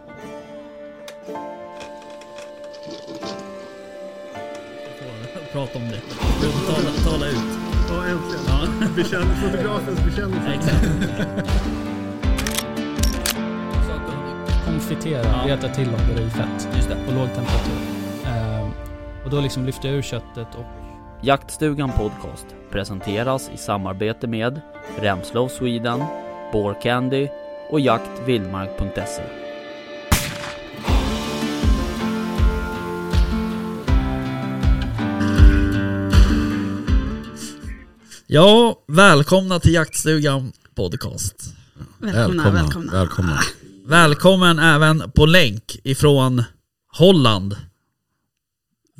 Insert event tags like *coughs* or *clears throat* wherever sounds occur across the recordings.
*laughs* Prata om det. Tala, tala ut. Ja, äntligen. Ja, *laughs* Bekänn, fotografens bekännelse. exakt. Konfitera, Ja. veta till om det är i fett Just det. på låg temperatur. Ehm, och då liksom lyfter jag ur köttet och Jaktstugan Podcast presenteras i samarbete med Remslow Sweden, Candy och jaktvildmark.se. Ja, välkomna till Jaktstugan Podcast. Välkomna, välkomna. välkomna. *laughs* välkomna. Välkommen även på länk ifrån Holland.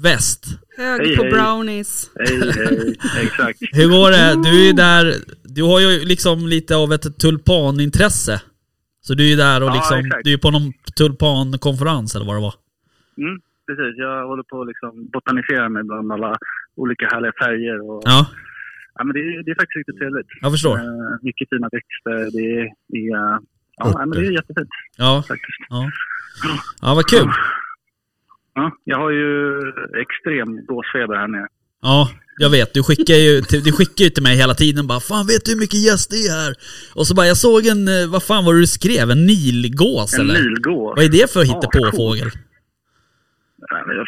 Väst. Hög Hej, på hej. brownies. Hej, hej, exakt. Hur går det? Du är ju där, du har ju liksom lite av ett tulpanintresse. Så du är ju där och Ja, liksom, exakt. du är på någon tulpankonferens eller vad det var. Mm, precis, jag håller på att liksom botanisera mig bland alla olika härliga färger. Och, ja. Ja, men det, är, det är faktiskt riktigt trevligt. jag förstår. Eh, mycket fina växter. Det är, det är, ja, nej, men det är jättefint Ja, faktiskt. ja. Ja, vad kul. Ja, jag har ju extrem gåsfeber här nere. Ja, jag vet. Du skickar ju till, du skickar ju till mig hela tiden bara Fan vet du hur mycket gäst det är här? Och så bara, jag såg en, eh, vad fan var det du skrev? En nilgås En eller? nilgås. Vad är det för Ja, hittepåfågel? Nej, men jag-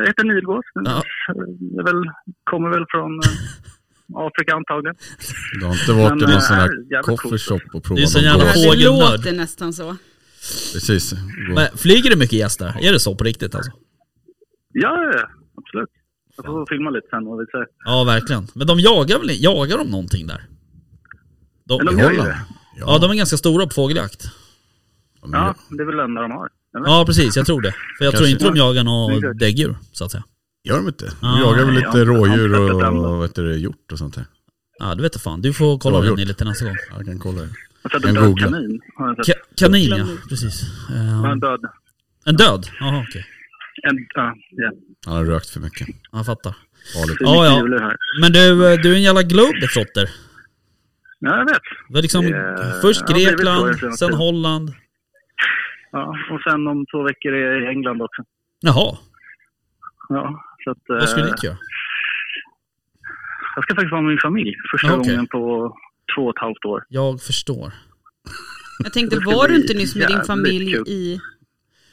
Jag heter nilgås. Ja. Jag är väl, kommer väl från eh, Afrika antagligen. Du har inte varit i någon Men, äh, sån jävla här coolt. coffee shop och provat Det är så någon jävla gås? hårt. Ja, det Fågelnörd. låter nästan så. Precis. Men flyger det mycket gäst där? Är det så på riktigt alltså? Ja, ja, absolut. Jag får filma lite sen och visa. Ja, verkligen. Men de jagar väl jagar de någonting där? De, Men de I gör ju Holland? det. ja, de är ganska stora på fågeljakt. Ja, men- Ja, det är väl det enda de har. eller? Mm. Ja, precis. Jag tror det. För jag tror Kanske. inte de jagar några Exakt. däggdjur, så att säga. Gör de inte? Ja. De jagar väl Nej, lite jag- rådjur jag har inte sett och dem. vad heter det, hjort och sånt där. Ja, du vet fan. Du får kolla Bra in gjort. det lite nästa gång. Jag kan kolla. det. Jag har sett En en död googla. kanin. Har jag sett. Ka- kanin, ja. Precis. Ehm, Ja, En död. en död? Jaha, okej. En, ja, ja. Han har rökt för mycket. Jag fattar. Farligt. Det är Ja, mycket ja. jular här. Men du, eh, du är en jävla globetrotter. Ja, jag vet. Du är liksom Eh, först ja, det är väl så Grekland, jag känner sen till. Holland. Ja, och sen om två veckor är jag i England också. Jaha, Ja, så att, eh, vad ska du dit göra? jag ska faktiskt vara med min familj första Ja, okej. gången på två och ett halvt år. Jag förstår. Jag tänkte, Det ska var du bli inte nyss med din jävligt familj kul. i...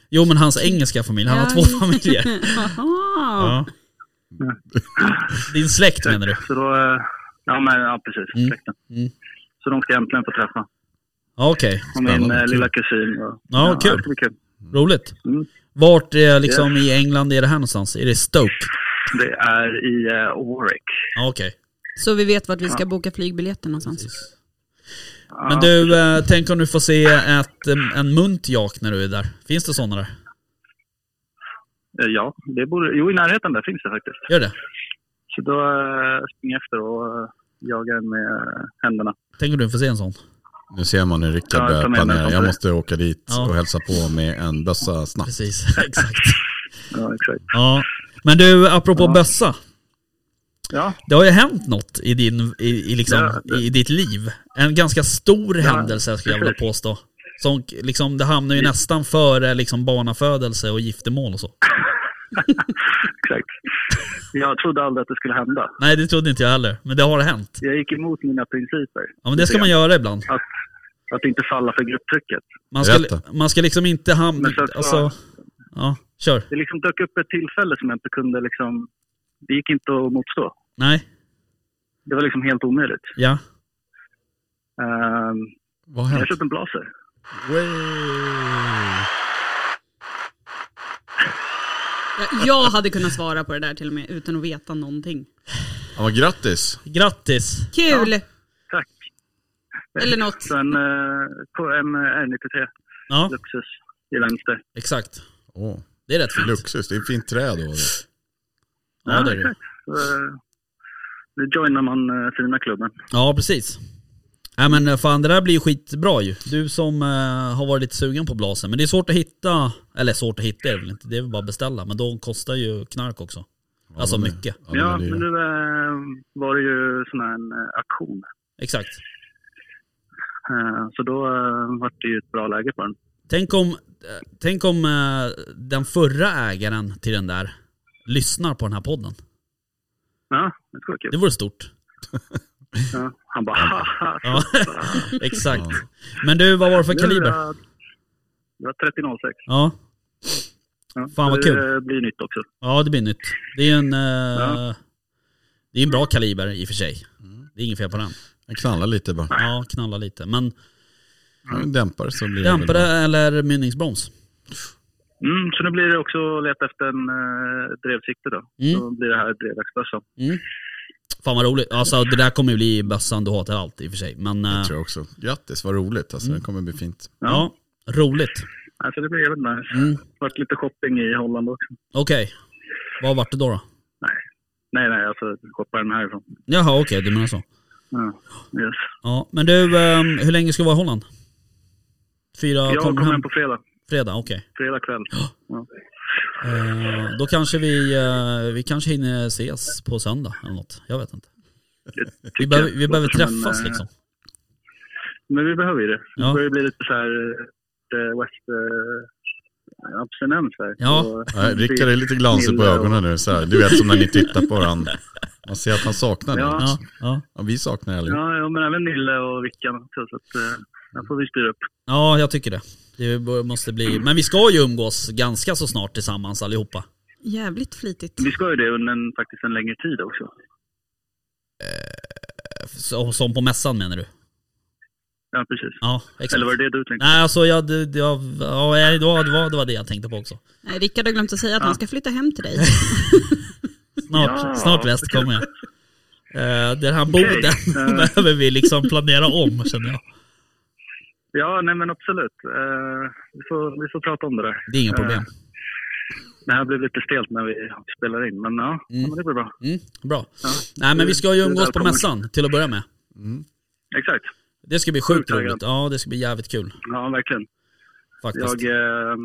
Jo, men hans engelska familj, han har Ja, två i- *laughs* familjer. Jaha. Ja. Din släkt menar du? Så då, eh, ja, men, ja precis. Mm. Släkten. Mm. Så de ska jag äntligen få träffa. Ja, Okej, Och min Spännande, eh, kul. lilla kusin. Och, Ja, kul. Det ska bli kul. roligt. Mm. Vart är liksom i England är det här någonstans? Är det Stoke? Det är i eh, Warwick. Ja, Okej. Så vi vet vart vi ska boka flygbiljetter någonstans. Ja, Men du, eh, tänk om du får se ett, eh, en muntjak när du är där. Finns det sådana där? eh, Ja, det borde, jo i närheten där finns det faktiskt. Gör det? Så då eh, springer jag efter och eh, jagar med eh, händerna. Tänk om du får se en sån? Nu ser man hur Rickard Ja, jag börjar tar med mig planera. sånt Jag där. måste åka dit Ja. och hälsa på med en bössa snabbt. Precis, *laughs* exakt. Ja, exakt. Ja. Men du, apropå Ja. bössa. Ja, Det har ju hänt något i, din, i, i, liksom, Ja, det- i ditt liv. En ganska stor Ja, händelse skulle jag vilja precis. påstå. Som, liksom, det hamnar ju nästan före liksom, barnafödelse och giftermål och så. exakt. Jag trodde aldrig att det skulle hända. Nej, det trodde inte jag heller. Men det har hänt. Jag gick emot mina principer. Ja, men det ska man göra ibland. Att, att inte falla för grupptrycket. Man ska, Berätta. man ska liksom inte hamna... Men sen så- Alltså, ja, kör. Det liksom dök upp ett tillfälle som jag inte kunde liksom... Det gick inte att motstå. Nej, Det var liksom helt omöjligt. ja. Ehm, Vad har jag hänt? köpte en blaser. Ja, Jag hade kunnat svara på det där till och med utan att veta någonting. Ja, men grattis! Grattis! Kul! Tack. Eller något. Så en, eh, K- en eh, R93 Ja, Luxus i vänster. exakt. Åh, Det är rätt fint. Luxus, det är fint träd då. Alltså, Ja, det är det. exakt. Så, eh, Nu joinar man eh, fina klubben. Ja, precis. Nej men eh, fan det där blir ju skitbra ju. Du som eh, har varit lite sugen på blasen. Men det är svårt att hitta, eller svårt att hitta är det väl inte, det är väl bara att beställa. Men de kostar ju knark också. Alltså de är- mycket. de är Ja, dyra. men nu eh, var det ju sån här en eh, auktion. Exakt. Eh, Så då eh, var det ju ett bra läge på den. Tänk om, eh, tänk om eh, den förra ägaren till den där lyssnar på den här podden. Ja, det skulle vara kul. Det vore stort. Ja. Han bara haha. Ja, *laughs* exakt. Men du, vad var det för kaliber? Det var 3006. Ja, Ja. Fan, vad Så kul. Det blir nytt också. ja det blir nytt. Det är en, eh, Ja. det är en bra kaliber i och för sig. Det är inget fel på den. Jag knallar lite bara. Ja, knalla lite. Men Ja, dämpare så blir det väl dämpare bra. eller mynningsbroms? Mm, så nu blir det också att leta efter en eh, drevsikte då. Mm. Då blir det här drevdagsbössan. Mm. Fan vad roligt. Alltså det där kommer ju bli bössan du hatar allt i och för sig. Men eh, Det tror jag också. Grattis, vad roligt. Alltså, Mm. Det kommer bli fint. ja, roligt. Ja, så det blir jävligt nice. Mm. Det vart lite shopping i Holland också. Okej. Vad vart det då? då? Nej, nej, alltså shoppa den härifrån. Jaha okej, du menar så. Ja, yes. Ja, men du, ehm, hur länge ska du vara i Holland? Fyra, Jag kom kommer hem hem på fredag. fredag, okej. Fredag kväll. Ja. Eh, då kanske vi, eh, vi kanske hinner ses på söndag eller något. Jag vet inte. Vi Tycker behöver, jag. vi behöver Låter som träffas en, eh, liksom. Men vi behöver ju det. Det Ja. börjar bli lite så här eh, West eh, abstinens här. Ja. Så- Ja, Rickard är lite glansig på Mille och- ögonen nu. Så här. Du vet som när ni tittar på varandra. Man ser att han saknar det. Ja. Ja, ja. Ja, vi saknar allihop. Ja, ja, men även Nille och Vickan också. Så att, eh, den får vi styra upp. ja, jag tycker det. Det bör- måste bli, men vi ska ju umgås ganska så snart tillsammans allihopa. Jävligt flitigt. Vi ska ju det under en, faktiskt en längre tid också. Så, som på mässan menar du? Ja, precis. Ja, exakt. Eller var det det du tänkte? Nej, alltså jag, det- jag, ja, nej, det, var, det, var, det var det jag tänkte på också. Nej, Rickard har glömt att säga att han ska flytta hem till dig. Snart, Ja, snart väst kommer jag. Eh, där han bor, Okej, där eh. *laughs* behöver vi liksom planera om känner jag. Ja, nej men absolut. Eh, vi, får, vi får prata om det där. Det är inga problem. Det här blev lite stelt när vi spelar in, men ja, ja, men det blir bra. Mm, bra. Ja. Nej men vi ska ju Du är umgås på välkommen. mässan till att börja med. Exakt. Det ska bli sjukt Sjukt taggad. roligt. Ja, det ska bli jävligt kul Ja, verkligen. faktiskt. Jag eh,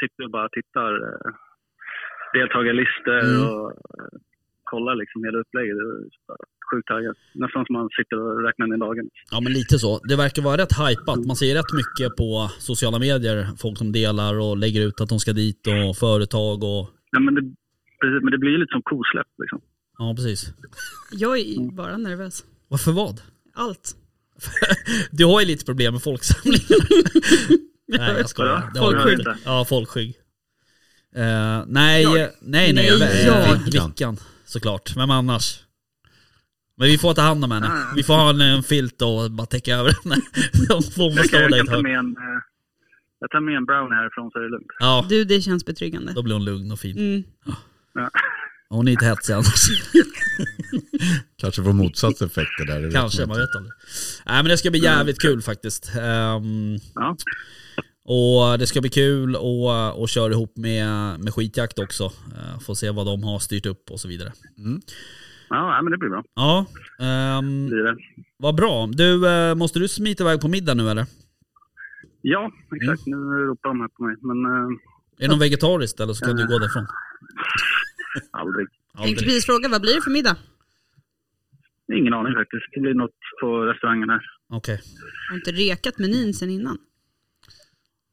sitter och bara tittar eh, deltagarlistor Mm. och eh, kollar liksom hela upplägget. Det är bara Sjukt taggad. Nästan som man sitter och räknar ner dagen. Ja men lite så. Det verkar vara rätt hypat. Man ser rätt mycket på sociala medier. Folk som delar och lägger ut att de ska dit och företag och... Ja, men, det, precis, men det blir ju lite som kosläpp liksom. Ja precis. Jag är Mm. ju bara nervös. Varför vad? Allt. Du har ju lite problem med *laughs* folksamlingar. nej jag skojar. Det har du Folkskygg. inte. Ja, folkskygg. Eh, nej, nej, nej, nej, Nej, jag. Eh, jag. Vickan såklart. Vem annars? Men vi får ta hand om henne. Vi får ha en, en filt och bara täcka över henne. *laughs* Hon får väl Jag, stå kan, där jag, i ett kan ta hörn. med en, eh, jag tar med en brown härifrån så är det lugnt. Ja, Du, det känns betryggande. då blir hon lugn och fin. Mm. Ja. Hon är inte hetsig *laughs* annars. Kanske får motsatt effekt det där. det vet Kanske, man inte. vet aldrig. Nej men det ska bli jävligt kul faktiskt. Ehm, Ja. och det ska bli kul och, och köra ihop med, med skitjakt också. Eh, Få se vad de har styrt upp och så vidare. Ja, ja, men det blir bra. Ja, ehm, Det blir det. vad bra. Du, eh, måste du smita iväg på middag nu eller? Är Ja, exakt. Mm. Nu ropar de här på mig, men eh, det något vegetariskt eller så kan du gå därifrån? aldrig. Jag tänkte precis fråga, vad blir det för middag? Ingen aning faktiskt. Det blir något på restaurangen här. Okej. Jag har inte rekat menyn sen innan.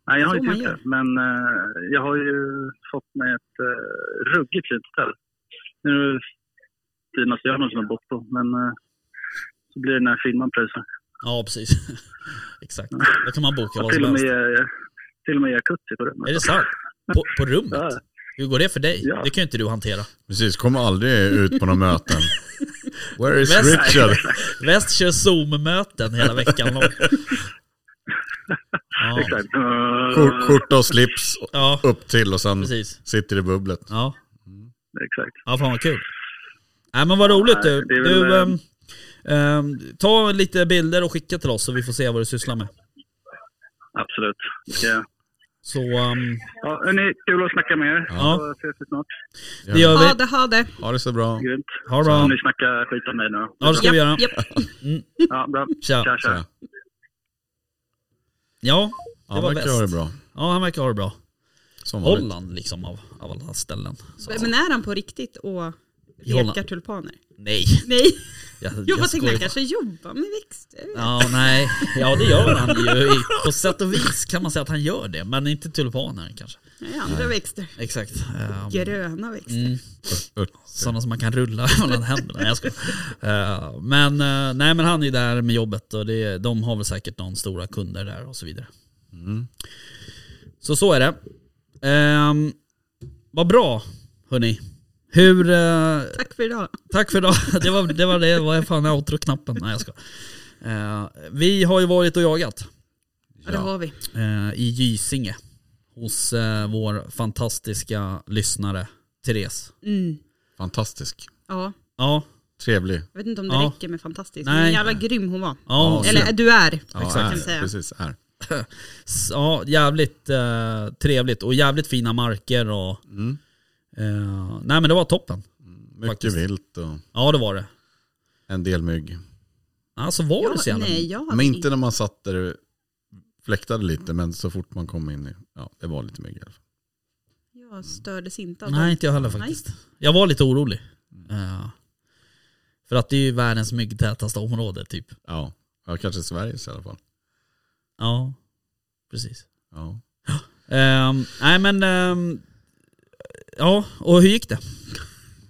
Nej, jag har typ Så inte man gjort gör. det. Men eh, jag har ju fått mig ett eh, ruggigt fint hotell. Det är det finaste jag någonsin har bott på. Men eh, så blir det den här filmen pröjsar. Ja, precis. *laughs* Exakt. Då kan man boka vad Till som och med helst. eh, till och med jacuzzi på rummet. Är det sant? På, på Ja. rummet? Hur går det för dig? Ja. Det kan ju inte du hantera. Precis, kom aldrig ut på några möten. Where is Väst- *laughs* Richard? Väst kör Zoom-möten hela veckan lång. Ja, Exakt. Eh, Skjort- Skjorta och slips ja upp till och sen precis. sitter i bubblet. Ja. Exakt. ja, fan vad kul. Nej men vad roligt du. det är väl, du ehm, ehm, ehm, ta lite bilder och skicka till oss så vi får se vad du sysslar med. Absolut. Det ska jag. Så ehm, Ja, hörni, kul att snacka med er. Ja. Så ses vi snart. det gör Ha vi. det, ha det. Ha det så bra. Grymt. Ha det Om bra. ni snackar skit om mig nu. Ja det ska vi göra. Japp, Ja, bra. Tja. Tja, tja. Ja, Ja, det han var verkar ha det bäst. bra. Ja han verkar ha det bra. Som vanligt. Holland liksom av, av alla ställen. Så. japp. Men är han på riktigt och I Holland. rekar tulpaner? Nej. Nej, *laughs* Jag, jag bara tänkte skojar bara. han kanske jobbar med växter. Ja, nej. Ja, det gör han ju. I- På sätt och vis kan man säga att han gör det, men inte tulpaner kanske. Nej, andra växter. Exakt. Ehm, Gröna växter. Mm. Sådana som man kan rulla *laughs* mellan händerna. Nej, jag skojar. Eh, men, eh, nej, men han är ju där med jobbet och det, de har väl säkert någon stora kunder där och så vidare. Så så är det. Um, vad bra, hörni. Hur... eh, Tack för idag. Tack för idag. *laughs* Det var det, var det. vad fan är outro-knappen? Nej jag ska. vi har ju varit och jagat Ja. Det har vi. eh, i Gysinge hos eh, vår fantastiska lyssnare Therese. Mm. Fantastisk. Ja. Ja, Trevlig. Jag vet inte om det Ja. räcker med fantastiskt. Nej. Men jävla grym hon var. ja, Ja, Eller du är. Ja, kan är, jag säga. Precis, är. s- ja jävligt eh, trevligt och jävligt fina marker och... Eh, nej men det var toppen. Mycket Faktiskt. vilt och Ja det var det. en del mygg. Alltså var det så Ja, jävla... nej, jag hade Men inte när man satt där fläktade lite, men så fort man kom in i, ja det var lite mygg i alla fall. Jag stördes inte av Nej dem. inte jag heller faktiskt. Jag var lite orolig. Eh, för att det är ju världens myggtätaste område typ. Ja, ja kanske Sveriges i alla fall. Ja, precis. Ja. Ehm, nej men, ehm, ja och hur gick det?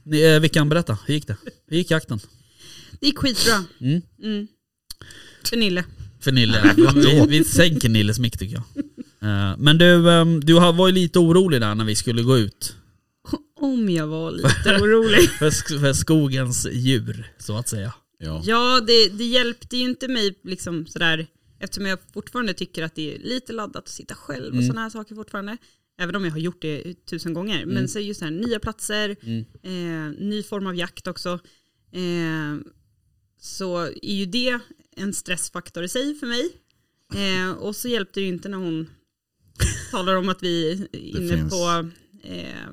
Ni, eh, Vickan berätta, hur gick det? Hur gick jakten? Det gick skitbra. Mm. Mm. För Nille. För *laughs* Nille, vi, vi sänker Nilles mick tycker jag. Eh, men du, ehm, du har- var ju lite orolig där när vi skulle gå ut. Om jag var lite *laughs* orolig. För, sk- för skogens djur, så att säga. Ja. Ja, det, det hjälpte ju inte mig liksom sådär. Eftersom jag fortfarande tycker att det är lite laddat att sitta själv och sådana här saker fortfarande. Även om jag har gjort det tusen gånger. Men så just det här, nya platser, eh, ny form av jakt också. Eh, så är ju det en stressfaktor i sig för mig. Eh, och så hjälpte det ju inte *laughs* när hon talar om att vi är inne, finns. på, eh,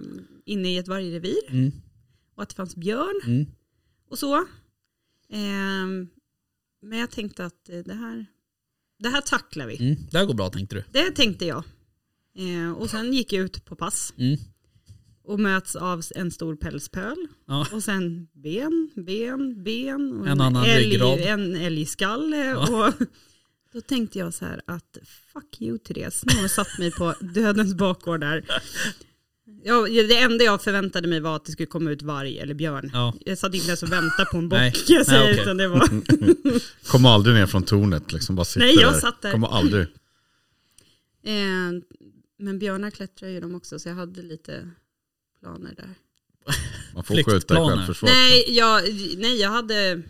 inne i ett vargrevir. Mm. Och att det fanns björn Mm. och så. Ehm, men jag tänkte att eh, det här, det här tacklar vi. Mm, det här går bra tänkte du. Det tänkte jag. Eh, och sen gick jag ut på pass. Mm. Och möts av en stor pälspöl. Ja. Och sen ben, ben, ben. Och En annan ryggrad. En älgskalle. Och då tänkte jag så här att fuck you Therese. Nu har hon satt *laughs* mig på dödens bakgård där. Ja, det enda jag förväntade mig var att det skulle komma ut varg eller björn. Ja. Jag satt inte ens och väntade på en Nej. bock. kan Jag säger, Nej, okej. utan det var... Kom aldrig ner från tornet liksom, bara sitter Nej, jag satt där. Kommer aldrig. Eh, men björnar klättrar ju de också så jag hade lite planer där. Man får skjuta i Flyktplaner. självförsvar. Nej, jag, nej, jag hade...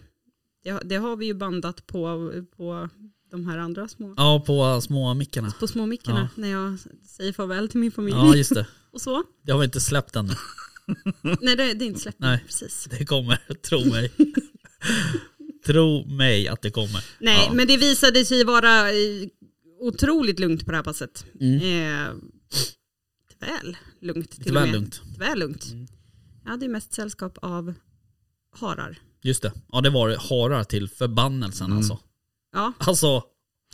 Det, det har vi ju bandat på, på de här andra små, Ja, på små mickarna. Mm. på små mickarna när jag säger farväl till min familj Ja, just det. och så. Det har vi inte släppt ännu. Nej, det, det är inte släppt Nej. nej. precis. Det kommer, *laughs* tro mig. tro mig att det kommer. Nej, men det visade sig vara eh, otroligt lugnt på det här passet. Eh, väl lugnt Mm. Lite till och väl med. lugnt. Mm. Väl lugnt. Jag hade ju mest sällskap av harar. Just det. Ja det var det. harar till förbannelsen alltså. Ja, Alltså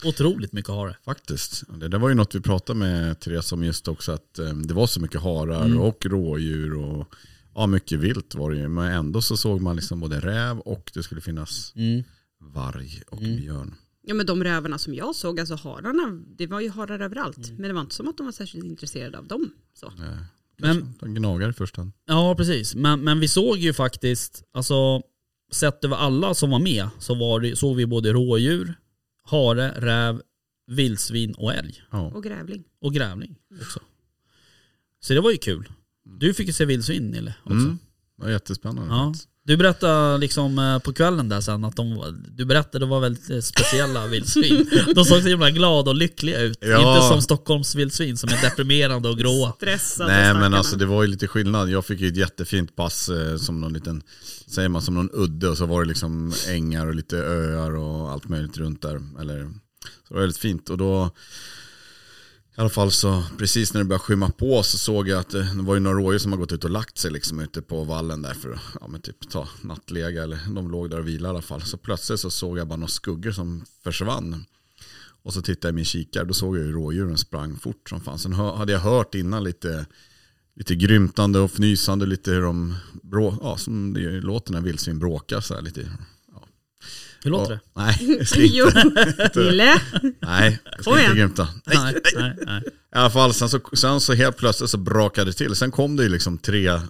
otroligt mycket hare. Faktiskt. Det där var ju något vi pratade med Therese om just också, att eh, det var så mycket harar Mm. och rådjur och ja, mycket vilt var det ju. Men ändå så såg man liksom både räv och det skulle finnas varg och björn. Ja men de rävarna som jag såg, alltså hararna, det var ju harar överallt. Mm. Men det var inte som att de var särskilt intresserade av dem. Så. Men, De gnagar i första hand. ja precis. Men, men vi såg ju faktiskt, alltså sett över alla som var med så var det, såg vi både rådjur, hare, räv, vildsvin och älg. Ja. Och grävling. Och grävling också. Så det var ju kul. Du fick ju se vildsvin Nille också. Mm. Det var jättespännande. Ja. faktiskt. Du berättade liksom eh, på kvällen där sen att de, var- du berättade var väldigt eh, speciella *laughs* vildsvin. De såg så himla glada och lyckliga ut. Ja. Inte som Stockholms vildsvin som är deprimerande och gråa. Stressade Nej men stackarna. alltså det var ju lite skillnad. Jag fick ju ett jättefint pass eh, som någon liten, säger man som någon udde och så var det liksom ängar och lite öar och allt möjligt runt där. Eller, så det var väldigt fint och då i alla fall så precis när det började skymma på så såg jag att eh, det var ju några rådjur som har gått ut och lagt sig liksom ute på vallen där för att ja, men typ ta nattlega eller de låg där och vilade i alla fall. Så plötsligt så såg jag bara några skuggor som försvann. Och så tittade jag i min kikare, då såg jag hur rådjuren sprang fort som fanns. Sen hö- hade jag hört innan lite, lite grymtande och fnysande, lite hur de, brå, ja, som det ju låter när vildsvin bråkar så här lite. Hur låter det? Ja, nej, jag *laughs* ska Jo, inte, Nille. nej, jag Kom ska inte igen. grymta. Nej, nej, nej. I alla fall, sen så, sen så helt plötsligt så brakade det till. Sen kom det ju liksom tre *laughs*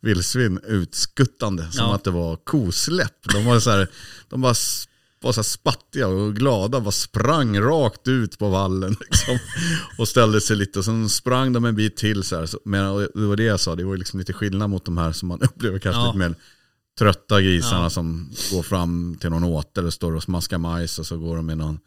vildsvin utskuttande. Som Ja. att det var kosläpp. De var så här, de bara s- var så här spattiga och glada. Bara sprang rakt ut på vallen *laughs* liksom, och ställde sig lite. Och sen sprang de en bit till. Så här. Så- Men och det var det jag sa, det var ju liksom lite skillnad mot de här som man *laughs* upplever kanske Ja. lite mer trötta grisarna Ja. som går fram till någon åter och står och smaskar majs och så går de med någon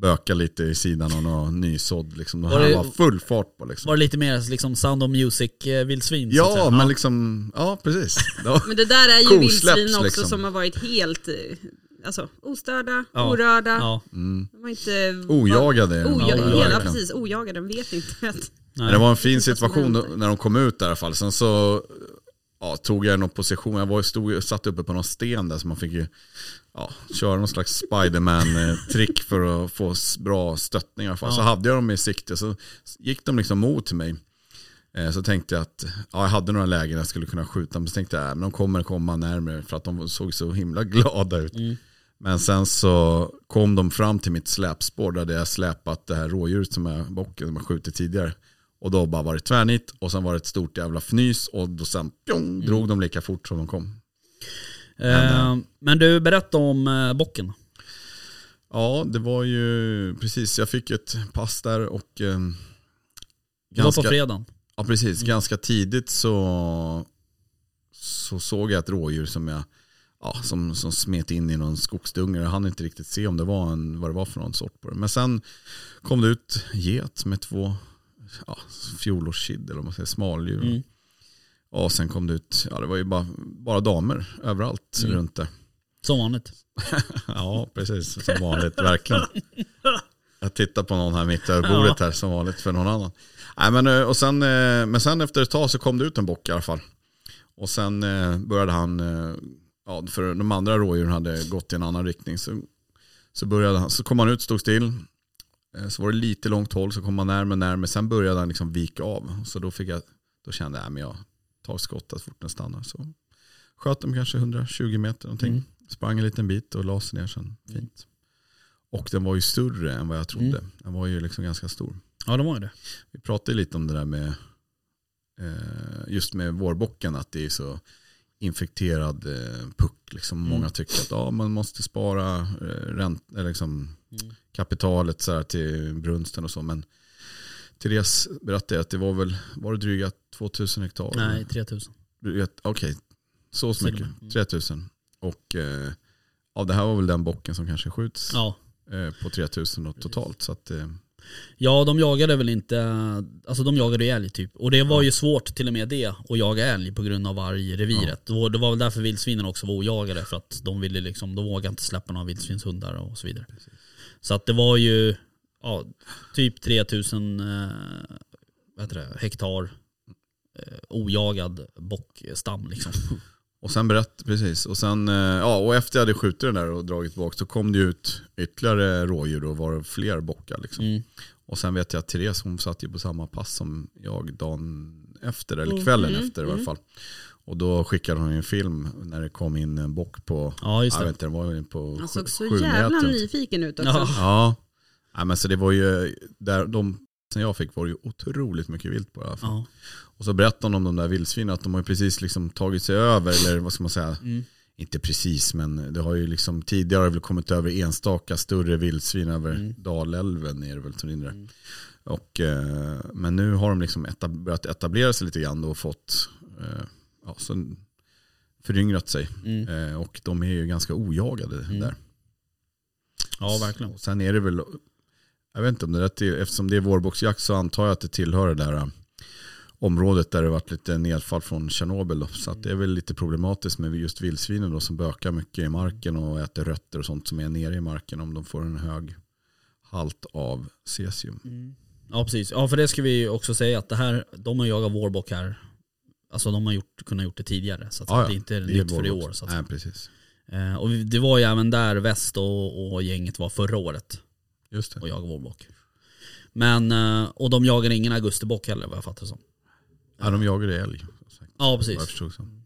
böka lite i sidan av någon nysådd. Liksom. De Var här det- var full fart på liksom. Var det lite mer liksom Sound of Music-vildsvin? så att säga? Ja, men liksom, ja *laughs* precis. Ja. Men det där är ju Kosläpps, vildsvin också liksom. som har varit helt eh, alltså, ostörda, Ja. orörda. Ja, De var inte... Ojagade. är de Oja, där, Ja, hela, verkligen. precis, ojagade, de vet inte *laughs* att... Nej. Men det var en fin vad som situation då- händer. när de kom ut i alla fall. Sen så ja, tog jag någon position. Jag var, stod, satt uppe på någon sten där så man fick ju ja, köra någon slags Spiderman-trick för att få s- bra stöttning i alla fall. Så hade jag dem i sikte så gick de liksom mot mig. Eh, Så tänkte jag att ja, jag hade några lägen jag skulle kunna skjuta men så tänkte jag att de kommer komma närmare för att de såg så himla *laughs* glada ut. Men sen så kom de fram till mitt släpspår där jag släpat det här rådjuret som jag, bocken som jag skjutit tidigare. Och då bara var det tvärnit och sen var det ett stort jävla fnys och då sen pjong, drog de lika fort som de kom. Eh, men du, berätta om eh, bocken. Ja, det var ju precis, jag fick ett pass där och eh, Det var på fredagen. Ja precis, Mm. ganska tidigt så, så såg jag ett rådjur som jag ja, som, som smet in i någon skogsdunge. Jag hann inte riktigt se om det var en, vad det var för någon sort på det. Men sen kom det ut get med två ja, fjolårskid eller vad man säger, smaldjur. Mm. Och sen kom det ut, ja det var ju bara, bara damer överallt Mm. runt det. Som vanligt. *laughs* Ja, precis. Som vanligt, verkligen. Jag tittar på någon här mitt över bordet här som vanligt för någon annan. Nej, men, eh, och sen, eh, men sen efter ett tag så kom det ut en bock i alla fall. Och sen eh, började han, eh, ja, för de andra rådjuren hade gått i en annan riktning. Så, så, började han, så kom han ut, stod still. Eh, Så var det lite långt håll, så kom han närmare, närmare. Sen började han liksom vika av. Så då, fick jag, då kände jag att jag tar skottet så fort den stannar. Så sköt dem kanske 120 meter någonting. Mm. Sprang en liten bit och la sig ner sen. Fint. Och den var ju större än vad jag trodde. Den var ju liksom ganska stor. Mm. Ja, det var ju det. Vi pratade ju lite om det där med eh, just med vårbocken att det är så infekterad eh, puck. Liksom. Mm. Många tycker att ja, man måste spara eh, ränt, eller liksom, Mm. kapitalet så här, till brunsten och så. Men Therese berättade att det var väl var det dryga 2000 hektar. Nej, 3000. Du vet, Okej, så så Till och mycket. med. Mm. 3000. Och eh, ja, det här var väl den bocken som kanske skjuts Ja. eh, på 3000 och totalt. Så att, eh, ja, de jagade väl inte, alltså de jagade ju älg typ. Och det var ju svårt till och med det att jaga älg på grund av vargreviret. Ja. Det var väl därför vildsvinen också var ojagade för att de ville liksom, de vågade inte släppa några vildsvinshundar och så vidare. Så att det var ju ja, typ 3000 eh, vad heter det, hektar eh, ojagad bockstam *laughs* liksom. och sen berätt, precis. Och, sen, eh, ja, och efter jag hade skjutit den där och dragit bak så kom det ju ut ytterligare rådjur och var det fler bockar. Liksom. Mm. Och sen vet jag att Therese hon satt ju på samma pass som jag dagen efter, eller Mm. kvällen efter i alla fall. Och då skickade hon ju en film när det kom in en bock på, Ja, just jag det. vet inte, den var ju på Han sju- såg så sju jävla meter. nyfiken ut också. Ja. Ja, Nej, men så det var ju, där de som jag fick var det ju otroligt mycket vilt på i alla fall. Ja. Och så berättade hon om de där vildsvinen, att de har ju precis liksom tagit sig över, eller vad ska man säga, Mm. inte precis men det har ju liksom tidigare har det väl kommit över enstaka större vildsvin över Mm. Dalälven är det väl som rinner. Och, eh, men nu har de liksom etab- börjat etablera sig lite grann då och fått, eh, ja, så föryngrat sig. Mm. Eh, och de är ju ganska ojagade där. ja, verkligen. Och sen är det väl, jag vet inte om det där till, eftersom det är vårboxjakt så antar jag att det tillhör det där eh, området där det varit lite nedfall från Tjernobyl. då. Så att det är väl lite problematiskt med just vildsvinen då som bökar mycket i marken och äter rötter och sånt som är nere i marken om de får en hög halt av cesium. Mm. Ja precis, ja för det ska vi ju också säga att det här, de har jagat vårbock här, alltså de har gjort, kunnat gjort det tidigare så att Ja, ja. det är inte är nytt för i vårbox. år. Så att, Nej, precis. Eh, och vi- det var ju även där väst och, och gänget var förra året Just det. och jagade vårbock. Men, eh, och de jagade ingen augustibock heller vad jag fattar det som. Ja, de jagar älg. som sagt. Ja Vad jag precis. förstod som.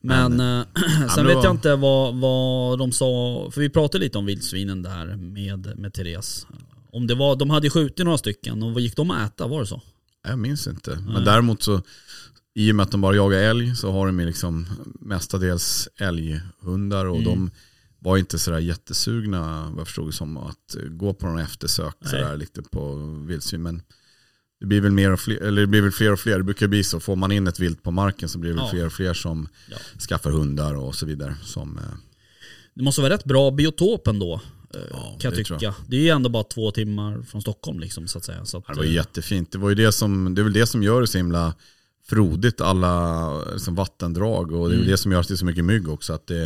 Men eh, *clears throat* men sen det vet jag var- inte vad, vad de sa, för vi pratade lite om vildsvinen där med, med Therese. Om det var, de hade ju skjutit några stycken och vad gick de att äta, var det så? Jag minns inte. Men däremot så i och med att de bara jagar älg så har de ju liksom mestadels älghundar Mm. och de var inte sådär jättesugna, vad jag förstod det som, att eh, gå på någon eftersök Nej. sådär lite på vildsvin. Men det blir väl, mer och fler, eller det blir väl fler och fler, det brukar bli så. Får man in ett vilt på marken så blir det väl Ja. fler och fler som Ja. skaffar hundar och så vidare. Som, eh, Det måste vara rätt bra biotop ändå. eh, Ja, kan jag det tror tycka. Det är ju ändå bara två timmar från Stockholm liksom så att säga. Så att, Ja, Det var eh, ju jättefint. Det, var ju det, som, det är väl det som gör det så himla frodigt, alla liksom, vattendrag. Och det Mm. är väl det som gör att det är så mycket mygg också. Att det,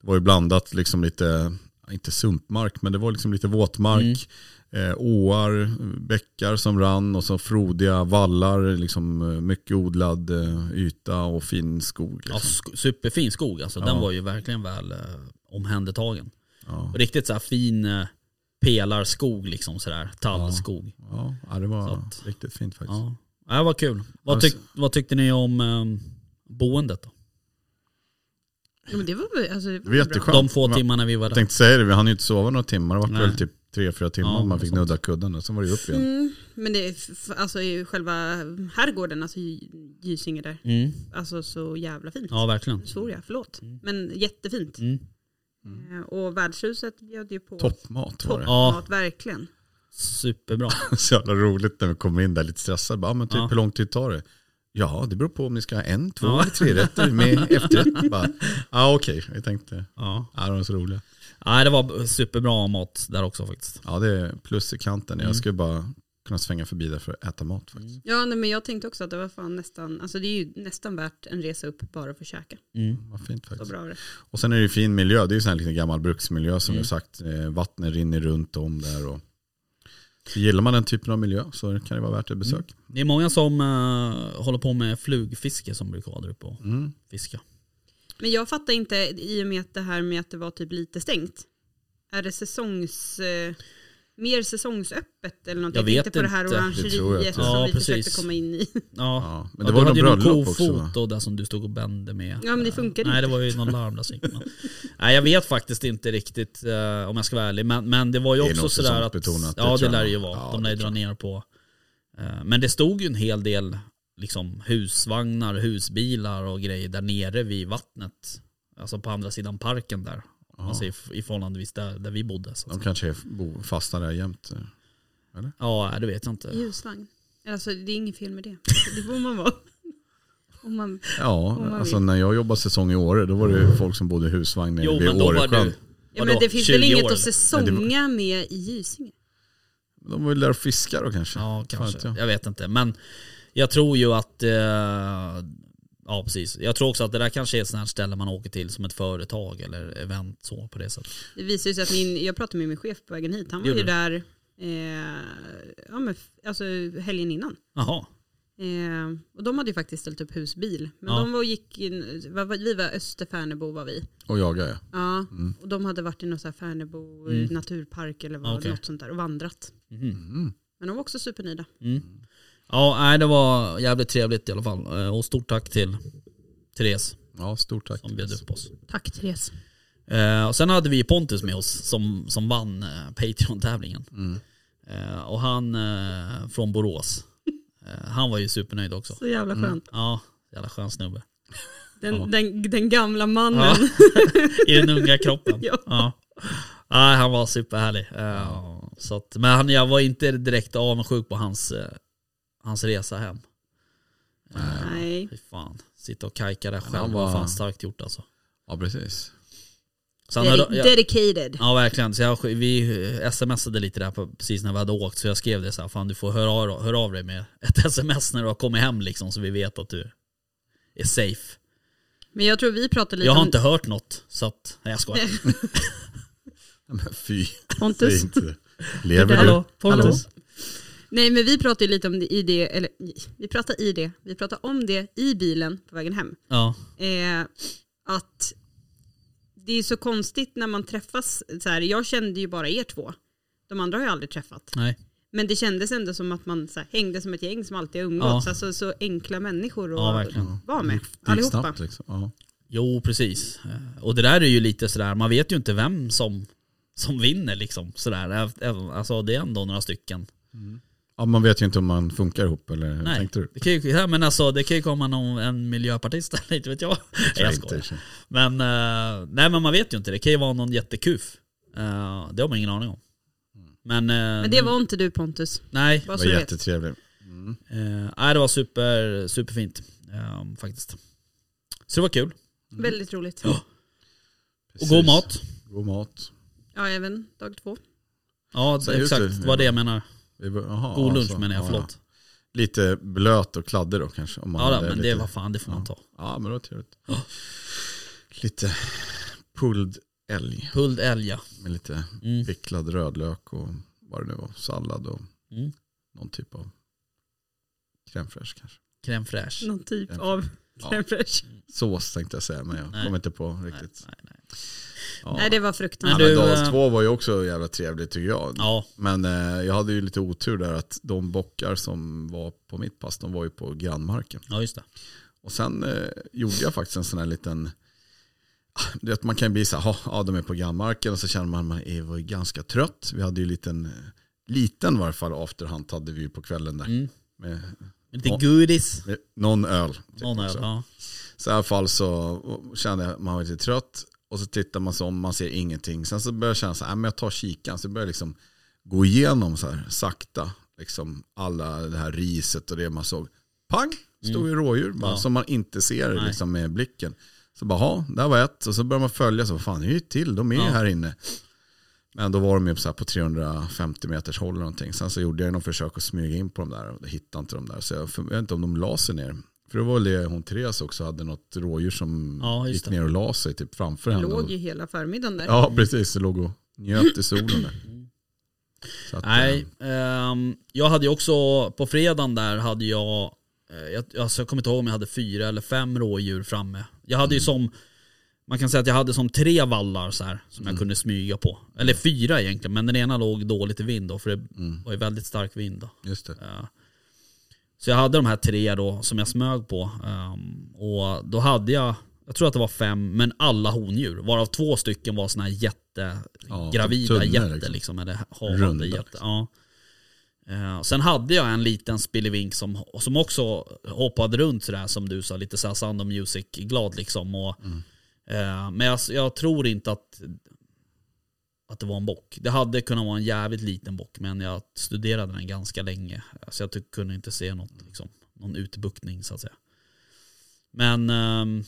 det var ju blandat liksom lite, inte sumpmark, men det var liksom lite våtmark. Mm. Eh, åar, bäckar som rann och så frodiga vallar. Liksom, eh, mycket odlad eh, yta och fin skog. ja, Liksom. sk- superfin skog alltså. Den Ja. var ju verkligen väl eh, omhändertagen. Ja, Riktigt så här fin eh, pelarskog liksom sådär. Tallskog. ja, ja, det var Så att- riktigt fint faktiskt. Ja. Ja, vad kul. Vad, Alltså- tyck, vad tyckte ni om eh, boendet då? Ja, men det var, väl- alltså, Det det var var bra. jätteskönt. De få Va- timmarna vi var Jag där. tänkte säga det, vi hann ju inte sova några timmar. Det var Nej. väl typ tre, fyra timmar Ja, man fick något sånt. nudda kudden och sen var det ju upp igen. Mm, men det är f- alltså, i själva herrgården, alltså i Gysinge där, Mm. alltså så jävla fint. Ja, verkligen. Svor jag, förlåt. Men jättefint. Mm. Eh, Och värdshuset bjöd ju på Toppmat var det. Ja. toppmat, verkligen. Superbra. Så jävla roligt när vi kommer in där lite stressade. Bara, men typ, Ja. Hur lång tid tar det? Ja, det beror på om ni ska ha en, två Ja. eller tre rätter med efterrätt. Bara, ah, okej, vi tänkte. Ja. *laughs* Ja, de är så roliga. Nej, det var superbra mat där också faktiskt. Ja, det är plus i kanten. Jag skulle bara kunna svänga förbi där för att äta mat faktiskt. Ja, nej, men jag tänkte också att det var fan nästan, alltså det är ju nästan värt en resa upp bara för att käka. Vad fint Så faktiskt. bra var det. Och sen är det ju fin miljö. Det är ju sån här liten gammal bruksmiljö som vi har sagt. Eh, Vattnet rinner runt om där. Och... Så gillar man den typen av miljö så kan det vara värt ett besök. Det är många som eh, håller på med flugfiske som brukar vara där uppe och Mm. fiska. Men jag fattar inte i och med att det här med att det var typ lite stängt. Är det säsongs... Eh, mer säsongsöppet eller någonting? Jag vet tänkte på det här inte. Det tror jag orangeriet inte. som Ja, vi precis. försökte komma in i. Ja. Ja, Ja, men det var ju någon hade ju någon bröllop också va? kofot då, där som du stod och bände med. Ja, men det funkar Nej, det inte. var ju någon larm där som gick. Men- Nej, jag vet faktiskt inte riktigt eh, om jag ska vara ärlig. Men, men det var ju Det är också nog sådär att... säsongsbetonat, det ja, tror det jag lär nog. ju vara. Ja, De det lär ju tror dra jag. ner på. Eh, men det stod ju en hel del liksom, husvagnar, husbilar och grejer där nere vid vattnet. Alltså på andra sidan parken där. Alltså i, i förhållandevis där, där vi bodde. Så att De säga. kanske är- bo- fastnar där jämt. eh. Ja, nej, det vet jag inte. *laughs* Ljusvagn. Alltså det är inget fel med det. Det får *laughs* man vara. Om man, Ja, man alltså vill. när jag jobbade säsong i Åre, då var det ju folk som bodde i husvagn nere Mm. Jo, vid men då var Åresjön. du... ja, vadå, men det finns väl 20 år, inget eller? att säsonga med i Gysinge? De var väl där och fiskade då kanske. Ja, Fan kanske. vet jag. Jag vet inte. Men jag tror ju att... Eh, ja, precis. Jag tror också att det där kanske är ett sånt här ställe man åker till som ett företag eller event så på det sättet. Det visar ju sig att min, jag pratade med min chef på vägen hit. Han var Gjorde ju du? där eh, ja, men, f- alltså, helgen innan. Jaha. Eh, och de hade ju faktiskt ställt upp husbil. Men Ja. de var och gick in, var- var- vi var Österfärnebo var vi. Och jagade ja. Ja, och de hade varit i någon så här Färnebo Mm. naturpark eller vad, Okej. något sånt där och vandrat. Mhm. Mm. Men de var också supernöjda. Mm. Ja, nej, det var jävligt trevligt i alla fall. Eh, Och stort tack till Therese Ja, stort tack. som bjöd upp oss. Tack Therese. Eh, och sen hade vi Pontus med oss som, som vann eh, Patreon-tävlingen. Eh, och han eh, från Borås. Eh, han var ju supernöjd också. *laughs* Så jävla skönt. Ja, jävla skön snubbe. Den, den, den gamla mannen. Ja. I den unga kroppen. Ja. Ja. Nej, han var superhärlig. Eh, Så att, men han, jag var inte direkt avundsjuk på hans, eh, hans resa hem. Nej. Fy fan. Sitta och kajka där han själv var var- fan starkt gjort alltså. Ja, precis. Så han Dedi- hade, jag, dedicated. ja verkligen. Så jag, vi smsade lite där på, precis när vi hade åkt. Så jag skrev det så här, fan du får höra, av- höra av dig med ett *laughs* sms när du har kommit hem liksom. Så vi vet att du är safe. Men jag tror vi pratade lite Jag har om inte hört något. Så att, nej jag skojar. Ja, Men fy, säg Pontus. inte det. Lever du? Hallå Pontus. Nej men vi pratade ju lite om det i det, eller vi pratade i det, vi pratade om det i bilen på vägen hem. Ja. eh, att det är så konstigt när man träffas. Så här, jag kände ju bara er två. De andra har jag aldrig träffat. Nej. Men det kändes ändå som att man så här, hängde som ett gäng som alltid har umgåtts. Ja. Alltså, så enkla människor Ja, att verkligen. vara med. Det gick Allihopa. snabbt liksom. Ja. Jo, precis. Eh, Och det där är ju lite sådär, man vet ju inte vem som, som vinner liksom. Sådär. Även- även- Alltså det är ändå några stycken Ja, man vet ju inte om man funkar ihop eller hur Nej. tänkte du? Det kan ju, ja, men alltså, det kan ju komma någon, en miljöpartist eller *laughs* inte vet jag. Nej, jag inte, skojar. Alltså, i och för sig. Men, eh, nej, men man vet ju inte. Det kan ju vara någon jättekuf. Eh, det har man ingen aning om. Men, eh, Men det var inte du Pontus. Nej, Bara så Det du var vet. jättetrevligt. eh, nej, det var super, superfint eh, faktiskt. Så det var kul. Väldigt roligt. Ja. Och god mat. God mat. Ja, även dag två. Ja, Så, det- just det. exakt. Det var det jag menar. Vi var- aha, God ja, lunch så. menar jag, alltså. Ja, förlåt. ja. Lite blöt och kladdig då kanske. Om man Ja, hade men det lite- var fan, det får man ta. Ja, men det var trevligt. Lite pulled älg Pulled älg ja. med lite mm. picklad rödlök och vad det nu var. Sallad och Mm. någon typ av crème fraîche kanske. Crème fraîche. Någon typ Ja. av crème fraîche. Sås tänkte jag säga men jag Nej. kom inte på Nej, riktigt. nej, nej. Ja. Nej, det var Ja, fruktansvärt. men du, Dals eh, 2 var ju också jävla trevligt tycker jag. Ja, Men eh, jag hade ju lite otur där att de bockar som var på mitt pass, de var ju på grannmarken. ja just det. Och sen eh, gjorde jag faktiskt en sån här liten, Ah, du vet man kan ju bli så här, "Ha, ja de är på grannmarken och så känner man man är var ju ganska trött. Vi hade ju en liten, eh, liten i varje fall afterhand hade vi ju på kvällen där. Mm. Med, Lite Ja. godis. med någon öl. typ Någon öl, också. ja. Så i alla fall så kände jag att man var lite trött och så tittar man sig om, man ser ingenting. Sen så börjar jag känna så här, "Nej, men jag tar kikan. Så börjar jag liksom gå igenom så här sakta, liksom alla det här riset och det man såg. Pang, stod ju rådjur bara, Mm. Ja. som man inte ser liksom, med blicken. Så bara, "Ha, där var ett. Och så börjar man följa, så vad fan det är ju till, de är ju Ja. här inne. Men då var de ju på, så här på 350 meters håll eller någonting. Sen så gjorde jag någon försök att smyga in på dem där och hittade inte dem där. Så jag, för- jag vet inte om de la sig ner. För det var väl det hon Therese också hade något rådjur som Ja, just gick det. ner och la sig typ framför Jag henne. låg ju Och- hela förmiddagen där. Ja precis, det låg och njöt i solen där. Så att, eh, Nej, ehm, jag hade ju också, på fredagen där hade jag, eh, jag, alltså jag kommer inte ihåg om jag hade fyra eller fem rådjur framme. Jag hade ju Mm. som, man kan säga att jag hade som tre vallar så här som Mm. jag kunde smyga på. Eller fyra egentligen, men den ena låg dåligt i vind då, för det Mm. var ju väldigt stark vind då. Just det. Eh, Så jag hade de här tre då som jag smög på. Ehm, och då hade jag, jag tror att det var fem, men alla hondjur. Varav två stycken var såna här jätte, Ja, gravida tunnor jätter liksom. liksom. eller havande Runda, jätter. liksom. Ja. Eh, Sen hade jag en liten spillevink som, som också hoppade runt sådär som du sa, lite såhär Sound of Music-glad liksom. Och, eh, men jag, jag tror inte att, att det var en bock. Det hade kunnat vara en jävligt liten bock men jag studerade den ganska länge. Så jag tyck, kunde inte se något, liksom, någon utbuktning så att säga. Men ehm,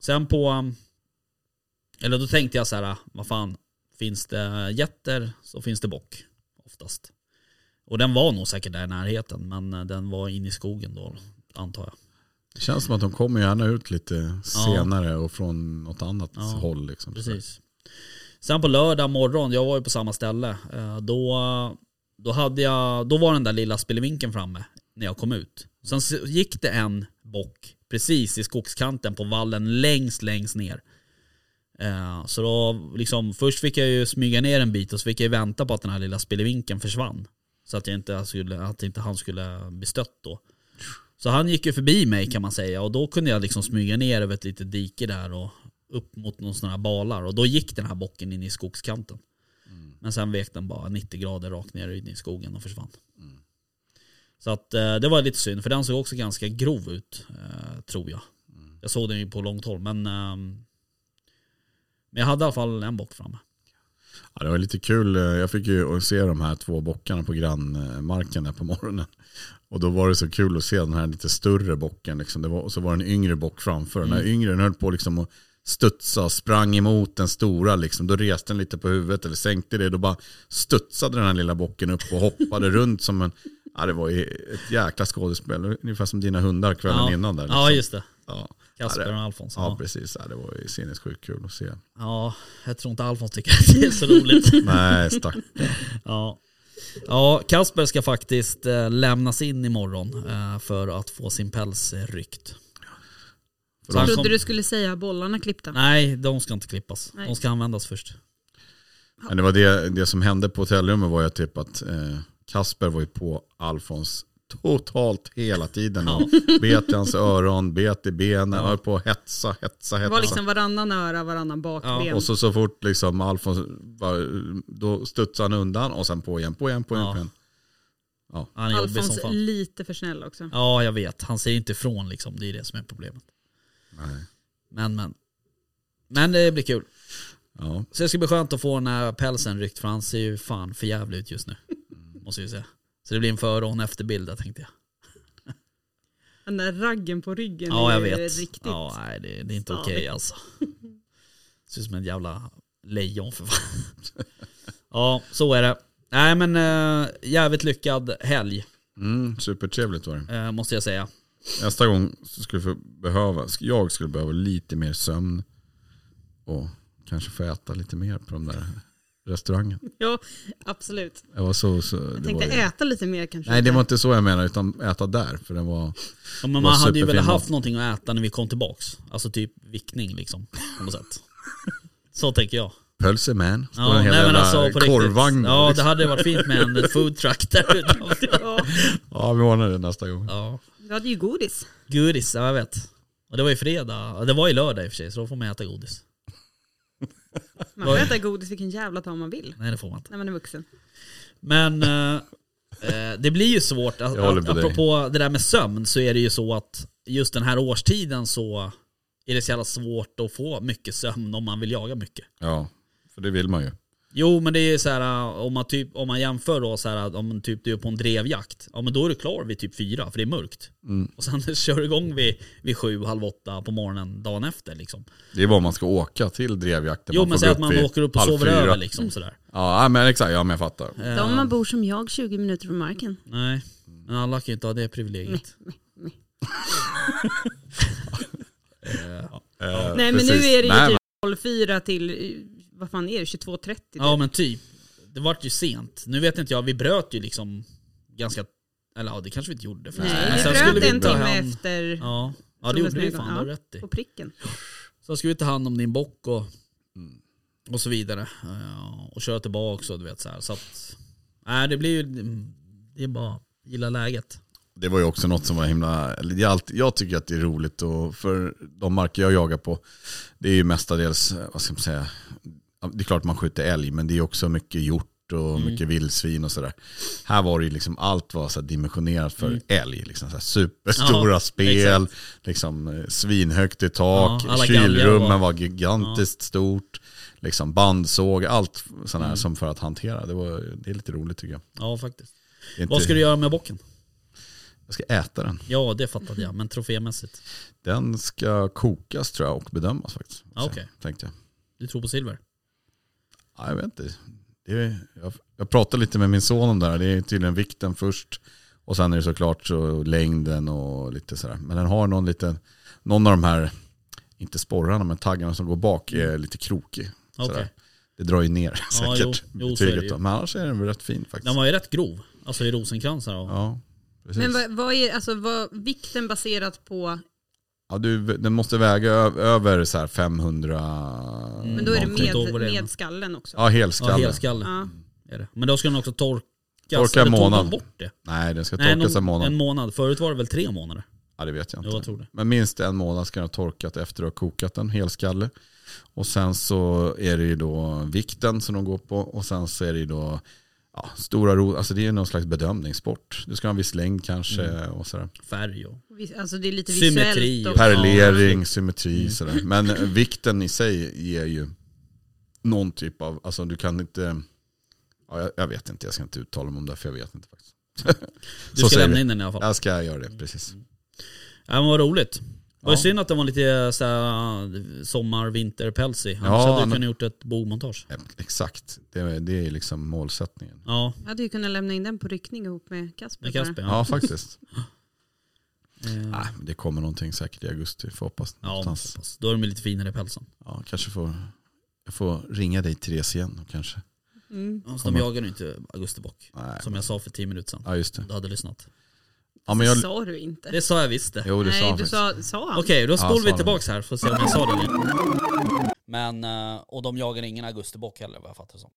sen på... ehm, Eller då tänkte jag så här, vad fan. Finns det jätter så finns det bock oftast. Och den var nog säkert där i närheten men eh, den var inne i skogen då antar jag. Det känns som att de kommer gärna ut lite senare och från något annat Ja, håll. Liksom. Precis. Sen på lördag morgon, jag var ju på samma ställe, eh, då, då, hade jag, då var den där lilla spelevinkeln framme när jag kom ut. Sen s- gick det en bock precis i skogskanten på vallen längst, längst ner. Eh, Så då liksom, först fick jag ju smyga ner en bit och så fick jag ju vänta på att den här lilla spelevinkeln försvann. Så att, jag inte skulle, att inte han skulle bli stött då. Så han gick ju förbi mig kan man säga och då kunde jag liksom smyga ner över ett litet dike där och upp mot någon sån här balar och då gick den här bocken in i skogskanten. Mm. Men sen vek den bara 90 grader rakt ner in i skogen och försvann. Mm. Så att eh, det var lite synd för den såg också ganska grov ut eh, tror jag. Mm. Jag såg den ju på långt håll men, ehm, men jag hade i alla fall en bock framme. Ja, det var lite kul. Jag fick ju se de här två bockarna på grannmarken där på morgonen. Och då var det så kul att se den här lite större bocken. Liksom. Det var, och så var det en yngre bock framför. Den Mm. här yngre den höll på liksom att studsa och sprang emot den stora. Liksom. Då reste den lite på huvudet eller sänkte det. Då bara studsade den här lilla bocken upp och *laughs* hoppade runt som en... Ja, det var ju ett jäkla skådespel. Ungefär som dina hundar kvällen ja. innan där. liksom. ja just det. Ja. Kasper Ja, det- och alltså. Alfons. Ja, Ja. precis. Ja, det var ju sinnessjukt kul att se. ja, jag tror inte Alfons tycker att det är så *laughs* roligt. Nej, stack. Ja. ja, Kasper ska faktiskt eh, lämnas in imorgon eh, för att få sin päls eh, ryckt. Så han Jag kom- trodde du skulle säga bollarna klippta. Nej, de ska inte klippas. Nej. De ska användas först. Men det var det, det som hände på hotellrummet var ju typ att eh, Kasper var ju på Alfons totalt hela tiden. Ja. Bet i hans öron, bet i benen, höll på att hetsa, hetsa, Det hetsa. var liksom varannan öra, varannan bakben. Ja, Och så, så fort liksom Alfons, var, då studsade han undan och sen på igen, på igen, på igen. Ja. På igen. Ja. Han är jobbig som Alfons fan. lite för snäll också. Ja, jag vet. Han ser inte ifrån liksom. Det är det som är problemet. Nej. Men, men. Men det blir kul. Ja. Så det ska bli skönt att få den här pälsen ryckt för han ser ju fan för jävligt ut just nu. Mm. Måste jag ju säga. Så det blir en före och en efterbild där, tänkte jag. Den där raggen på ryggen Ja, jag är ju vet. riktigt. Ja, nej, det, det är inte Stadigt. okej *laughs* alltså. Ser ut som en jävla lejon för fan. *laughs* Ja, så är det. Nej men eh, jävligt lyckad helg Mm, supertrevligt var det. eh, måste jag säga. Nästa gång så skulle vi behöva, jag skulle behöva lite mer sömn och kanske få äta lite mer på de där restaurangen. Ja, absolut. Jag var så, så, det Jag var tänkte ju- äta lite mer kanske. Nej det var inte så jag menade utan äta där för den var, Ja, men Var man hade ju superfin väl då. haft någonting att äta när vi kom tillbaks. Alltså typ vickning liksom. På något sätt. *laughs* Så tänker jag. pölse man. Står Ja, en hel nej, men jävla alltså, på korvvagn. riktigt. Ja, det liksom. hade varit fint med *laughs* en food truck där utanför. Ja, ja vi ordnar det nästa gång. Ja. du hade ju godis. Godis, ja, jag vet. Och det var ju fredag. Ja, Det var ju lördag i och för sig, så då får man äta godis. Man får äta godis vilken jävla dag man vill Nej, det får man inte. när man är vuxen. Men eh, eh, det blir ju svårt. Att, Jag håller att, med dig. apropå det där med sömn så är det ju så att just den här årstiden så är det så jävla svårt att få mycket sömn om man vill jaga mycket. Ja, för det vill man ju. Jo men det är ju så här om man, typ, om man jämför då så här om typ du är på en drevjakt. Ja men då är du klar vid typ fyra för det är mörkt. Mm. Och sen *laughs* kör du igång vid, vid sju, halv åtta på morgonen dagen efter liksom. Det är vad man ska åka till drevjakten. jo får men säg gå att man vid åker upp och halv sover fyra. över liksom sådär. Ja men exakt, ja men jag fattar. Då om man bor som jag, 20 minuter från marken. Eh, Nej, men alla kan ju inte ha det privilegiet. Eh, Nej men precis. nu är det ju Nej, typ 04 till, eh, vad fan är det, 22.30 typ. Ja men typ. Det vart ju sent. Nu vet inte jag, vi bröt ju liksom ganska, eller ja det kanske vi inte gjorde. förresten. Men typ. Nej, sen vi skulle bröt vi en ta timme hand- efter. Ja, ja det Solens gjorde vi nedgång, fan, du har ja. rätt i. På pricken. Så ska vi ta hand om din bock och, Mm. och så vidare. Ja, Och köra tillbaka också, du vet så här. Så att, nej det blir ju, det är bara att gilla läget. Det var ju också något som var himla, eller det är alltid, jag tycker att det är roligt och för de marker jag jagar på, det är ju mestadels, eh, vad ska man säga, ja, det är klart man skjuter älg men det är också mycket hjort och Mm. mycket vildsvin och sådär. Här var det ju liksom allt var så här dimensionerat för älg, liksom så här superstora Mm. Ja, spel, liksom eh, svinhögt i tak, Ja, alla galgar var- kylrummen var gigantiskt stort, liksom bandsåg, allt sådana Mm. här som för att hantera. Det, var, det är lite roligt tycker jag. Ja faktiskt. Det är Vad inte- ska du göra med bocken? Jag ska äta den. Ja det fattade jag, men trofémässigt. Den ska kokas tror jag och bedömas faktiskt. Ja, Ah, okej. Tänkte jag. Du tror på silver? Ja, jag vet inte. Det är, jag, jag pratade lite med min son om det här. Det är tydligen vikten först. Och sen är det såklart så längden och lite sådär. Men den har någon liten, någon av de här, inte sporrarna men taggarna som går bak är lite krokig. Okej. Sådär. Det drar ju ner Ja, *laughs* säkert jo. Jo, så är det betyget. ju. Då. Men annars är den väl rätt fin faktiskt. Den var ju rätt grov, alltså i rosenkransar och... Ja, precis. Men vad, vad är alltså, vad, vikten baserat på, ja, du, den måste väga ö- över så här 500 Mm. men då är det någonting. Jag kommer inte ihåg med, vad det är. med skallen också. Ja, Ja, helskalle. helskalle. Ja. Är det. Men då ska den också torkas. Torka en eller tog de månad. bort det? Nej, den ska Nej, torkas någon- en månad. en månad. Förut var det väl tre månader? Ja, det vet jag inte. Jo, jag tror det. Men minst en månad ska den ha torkat efter att ha kokat den, helskalle. Och sen så är det ju då vikten som de går på och sen så är det ju då ja, stora ro, alltså det är någon slags bedömningssport. Du ska ha en viss längd kanske Mm. och sådär. Färg och... Vi- Alltså det är lite Symmetri visuellt. och- Och, Perlering, symmetri Mm. sådär. *laughs* Men eh, vikten i sig ger ju någon typ av, alltså du kan inte, ja, jag, jag vet inte, jag ska inte uttala mig om det för jag vet inte faktiskt. Du *laughs* Så ska säger lämna vi. in den i alla fall. Jag ska göra det, precis. Ja men vad roligt. Det var ju Ja. synd att det var lite såhär sommar, vinter, pälsig. Annars Ja, hade du men- kunnat gjort ett bomontage. Eh, Exakt, det, är- det är ju liksom målsättningen. Ja, Jag hade ju kunnat lämna in den på ryckning ihop med Kasper. med bara. Kasper. *laughs* Ja. Ja, faktiskt. Eh, Nej, men det kommer någonting säkert i augusti, får hoppas. ja Ja, man får hoppas. Då är de ju lite finare i pälsen. ja, kanske får, jag får ringa dig Therese igen och kanske. Mm. Alltså, de jagar ju inte augustibock. Nej. Som jag sa för tio minuter sedan. Ja, just det. Du hade lyssnat. Ja, men jag, Det sa du inte. Det sa jag visst det. jo, det sa Nej, han du faktiskt. sa, sa han. Okej, då Ja, spolar sa vi han. tillbaks här för att se om jag sa det igen. Men, eh, och de jagar ingen augustibock heller vad jag fattar som.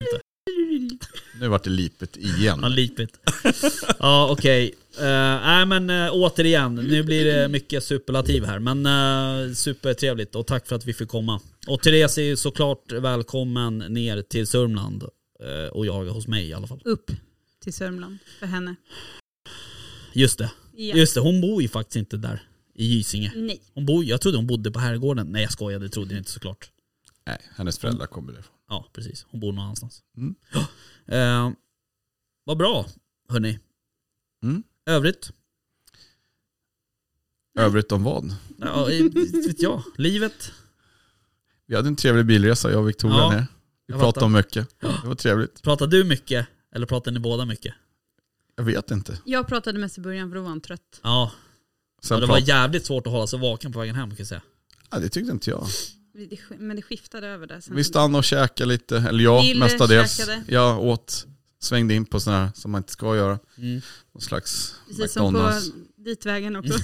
Nu vart det lipet igen. Han lipigt. ja okej. Eh, Nej men eh, återigen, nu blir det mycket superlativ här. Men eh, supertrevligt och tack för att vi fick komma. Och Therese är ju såklart välkommen ner till Sörmland eh, och jaga hos mig i alla fall. Upp till Sörmland för henne. Just det. Ja. Just det, hon bor ju faktiskt inte där i Gysinge. Nej. Hon bor, jag trodde hon bodde på herrgården. Nej jag skojar, det trodde jag inte såklart. Nej, hennes föräldrar kommer därifrån. Ja, precis. Hon bor någon annanstans. Mm. Ja. Eh, vad bra, hörni. Mm. Övrigt? Övrigt om vad? Ja, i- inte vet jag. Livet? Vi hade en trevlig bilresa, jag och Victoria Ja, ner. Vi jag pratade fattar. om mycket. Det var trevligt. Pratar du mycket? Eller pratar ni båda mycket? Jag vet inte. Jag pratade mest i början för då var han trött. Ja, Sen och det det, var jävligt svårt att hålla sig vaken på vägen hem kan jag säga. ja, det tyckte inte jag. Vi- det sk- Men det skiftade över där. Sen Vi stannade och käkade lite, eller jag Ville mestadels. käkade. Jag åt, svängde in på sådana här som man inte ska göra. Mm. Någon slags Precis som på McDonalds. ditvägen också. Mm.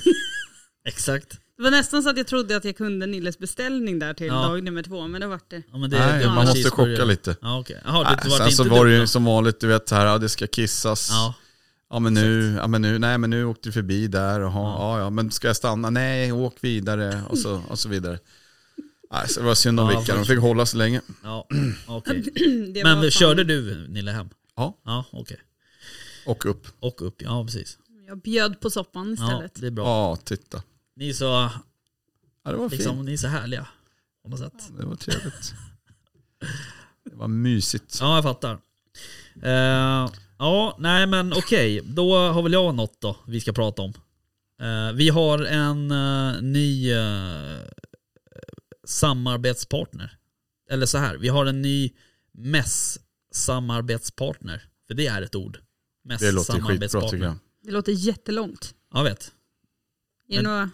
Exakt. *laughs* Det var nästan så att jag trodde att jag kunde Nilles beställning där till Ja. dag nummer två, men det vart det. *clears throat* Ja, men det, Nej, det man måste cheeseburgare. chocka lite. Ja, okej. Jaha, det Nej, var sen inte så var du det ju då? som vanligt, du vet här, ja, det ska kissas. Ja, Ja men nu, ja men nu, nej men nu åkte du förbi där, Jaha, ja. ja men ska jag stanna? Nej, åk vidare och så, och så vidare. Nej, så det var synd om Ja, Vicka, de först- fick hålla så länge. ja *clears throat* *clears throat* okej. det Men var fan- körde du Nille hem? Ja. Ja, okej. Och upp. Och upp, ja precis. Jag bjöd på soppan Ja, istället. det är bra. Ja, titta. Ni är så, Ja, det var liksom, fint. ni är så härliga. På något sätt. Det var trevligt. Det var mysigt. Ja, jag fattar. Eh, ja, nej men okej. Då har väl jag något då vi ska prata om. Eh, vi har en eh, ny eh, samarbetspartner. Eller så här, vi har en ny mäss-samarbetspartner. För det är ett ord. Det låter skitbra tycker jag. Det låter jättelångt. Ja, jag vet. Är det Men- några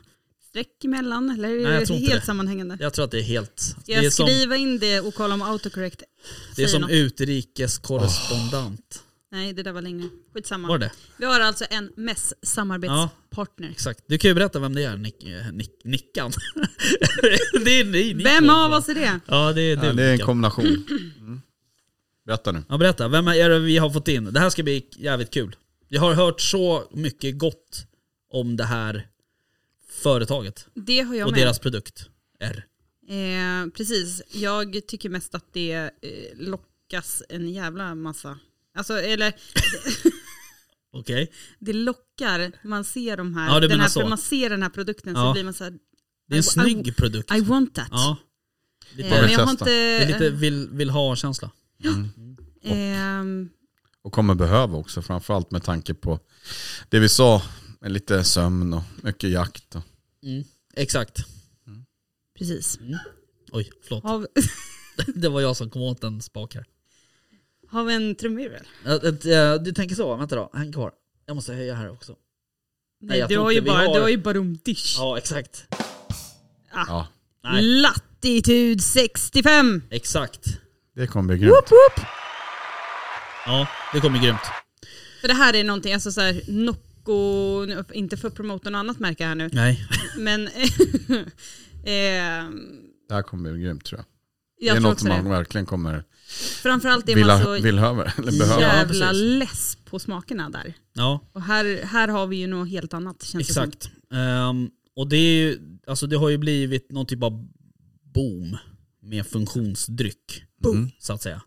streck emellan eller är Nej, jag det tror inte helt det. sammanhängande? Jag tror att det är helt... Ska Det är jag som, skriva in det och kolla om autocorrect det är säger som något? utrikeskorrespondent. Nej, det där var längre. Skitsamma. Var det? Vi har alltså en mess samarbetspartner. Exakt. Du kan ju berätta vem det är, Nick, eh, Nick, Nickan. *laughs* det är ni, ni Vem två. av oss är det? Ja, det är du. Ja, det är en Mikael. kombination. Mm. Berätta nu. ja, berätta, vem är det vi har fått in? Det här ska bli jävligt kul. Jag har hört så mycket gott om det här företaget Det har jag och med. deras produkt. R. Eh, precis, jag tycker mest att det eh, lockas en jävla massa. Alltså, *coughs* eller Okej? det lockar, man ser de här, Ja, du den menar här så. för man ser den här produkten Ja. så blir man så här, Det är en I- I- snygg produkt. I want that. Ja, Man vill Eh, men jag har testa. inte... det är lite vill, vill ha-känsla. ehm, Och kommer behöva också, framförallt med tanke på det vi sa. med Lite sömn och mycket jakt. Och. Exakt. precis. Oj, förlåt. Har, vi- *laughs* *laughs* Det var jag som kom åt en spak här. har vi en trumvirvel? Ett- ett, eh, Du tänker så, vänta då. Häng kvar. Jag måste höja här också. Nej, Nej, jag du tror har ju inte vi bara, har- du har ju bara um dish. Ja, exakt. Ja, Nej. Latitud 65! Exakt. det kommer bli grymt. Ja, det kommer grymt. För det här är någonting, alltså så här, Nocco, nu- inte för att promota något annat märke *laughs* här nu, Nej. men *laughs* ehm, eh, Det här kommer bli grymt tror jag. jag det är tror något också som man det. verkligen kommer Framförallt är man vilja, så vill höver, eller behöver. Ja. jävla precis. less på smakerna där. Ja, Och här, här har vi ju något helt annat känns det som. exakt. Ehm, och det, är ju, alltså det har ju blivit någon typ av boom med funktionsdryck. Boom. Så att säga.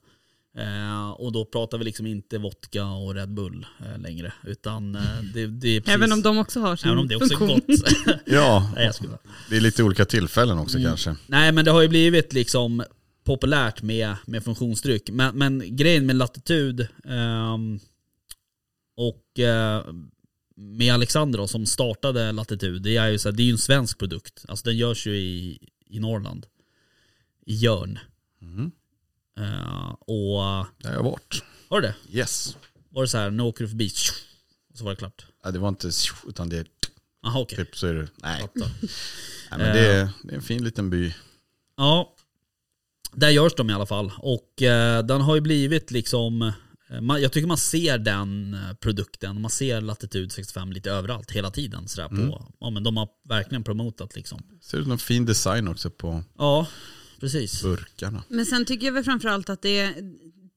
Eh, och då pratar vi liksom inte vodka och Red Bull eh, längre. Utan eh, det, det är precis, Även om de också har sin även om det också är funktion. gott. *laughs* Ja, Nej, jag skojar. det är lite olika tillfällen också kanske. Nej men det har ju blivit liksom populärt med, med funktionsdryck. Men, men grejen med Latitud ehm, och eh, med Alexander då, som startade Latitud, det är ju så här, det är ju en svensk produkt. Alltså den görs ju i, i Norrland. I Jörn. Eh, och Det har jag varit. har du det? Yes. Var det så här, nu åker du förbi, tjo, och så var det klart. Ja, det var inte tjo, utan det är Jaha okej. typ så är det. Nej. Fattar. Nej men det, är, det är en fin liten by. Ja, där görs de i alla fall. Och eh, den har ju blivit liksom, eh, man, jag tycker man ser den eh, produkten, man ser Latitud 65 lite överallt hela tiden. Sådär, på, ja, men de har verkligen promotat liksom. Ser ut någon fin design också på Ja, precis. burkarna. Men sen tycker jag väl framförallt att det,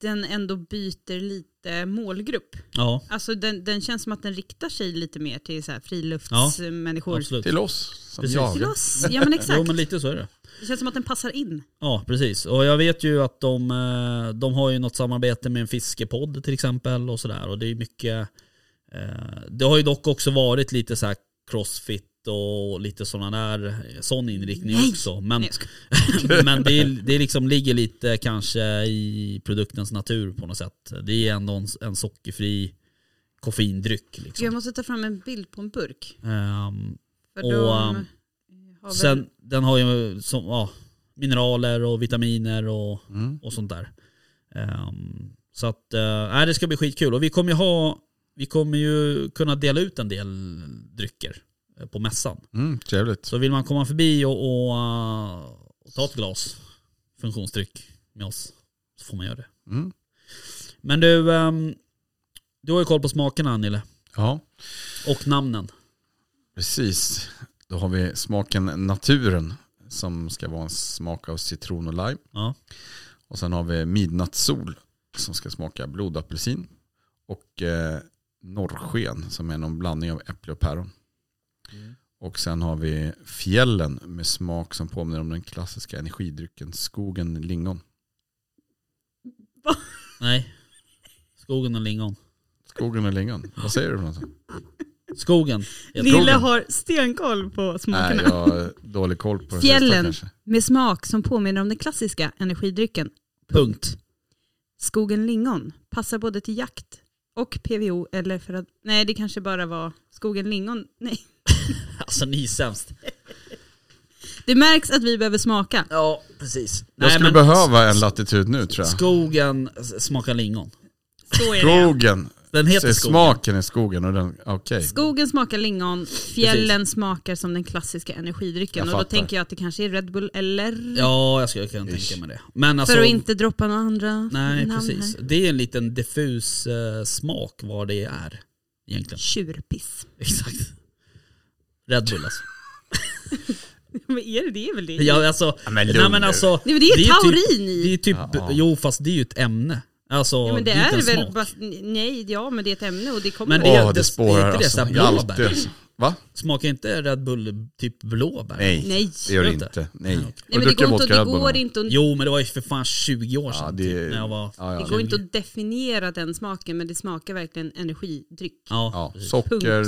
den ändå byter lite målgrupp. Ja, Alltså den, den känns som att den riktar sig lite mer till så här friluftsmänniskor. absolut. Till oss som Precis. till jagar. oss. *laughs* Ja men Jo exakt. men lite så är det. Det känns som att den passar in. Ja, precis. Och jag vet ju att de, eh, de har ju något samarbete med en fiskepodd till exempel och sådär. Och det är mycket Eh, Det har ju dock också varit lite så här crossfit och lite sådana där, sån inriktning Nej. också. Men, Nej, jag skojar. *laughs* men det, är- det liksom ligger lite kanske i produktens natur på något sätt. Det är ändå en, en sockerfri koffeindryck. Gud, Jag Liksom. måste ta fram en bild på en burk. Ehm, För Och, de har ehm, väl- Sen, den har ju som, ja, mineraler och vitaminer och, och sånt där. Ehm, så att, eh, nej, det ska bli skitkul. Och vi kommer ju ha, vi kommer ju kunna dela ut en del drycker eh, på mässan. Mm, trevligt. Så vill man komma förbi och, och, eh, och ta ett glas funktionsdryck med oss så får man göra det. Mm. Men du, ehm, du har ju koll på smakerna Nille. Ja, Och namnen. precis. Då har vi smaken naturen som ska vara en smak av citron och lime. Ja. Och sen har vi midnattssol som ska smaka blodapelsin. Och eh, norrsken som är någon blandning av äpple och päron. Och sen har vi fjällen med smak som påminner om den klassiska energidrycken skogen lingon. Nej. Skogen och lingon. Skogen och lingon, vad säger du för *laughs* något? Skogen. heter tror Nille det. har stenkoll på Nej, smakerna. jag har dålig koll på det sista Fjällen kanske. med smak som påminner om den klassiska energidrycken. Punkt. Skogen lingon passar både till jakt och PVO eller för att... Nej, det kanske bara var skogen lingon. Nej. Alltså ni är sämst. Det märks att vi behöver smaka. Ja, precis. Jag skulle behöva en latitud nu tror jag. Skogen smakar lingon. Så är det. Skogen. Den Så heter är skogen. smaken i skogen och den, okej. Skogen smakar lingon, fjällen smakar som den klassiska energidrycken. Jag Och då fattar. tänker jag att det kanske är Red Bull eller... Ja, jag skulle kunna Ish. tänka mig det. Men alltså, för att inte droppa några andra nej namn precis. här. Det är en liten diffus eh, smak vad det är egentligen. *laughs* Tjurpiss. *laughs* Exakt. Red Bull alltså. Men är det det? är väl det? Ja, alltså men nej lugn men nu. alltså. Nej, men det är taurin typ, i. Det är typ, Ja. jo fast det är ju ett ämne. Alltså, Ja, men det det är, är inte en väl smak. bara, nej, ja men det är ett ämne och det kommer Men men det är- Åh, det- det det är spårar inte det alltså. så här Jag alltid- blåbär? Va? Smakar inte Red Bull typ blåbär? Nej, Nej. det gör det Inte. inte. Nej. Nej Nej, men det går, inte, det går, inte, att, Jo men det var ju för fan 20 år sedan Ja, typ, det, när jag var... ja, ja. det går inte att definiera den smaken men det smakar verkligen energidryck. Ja, Ja, precis. socker,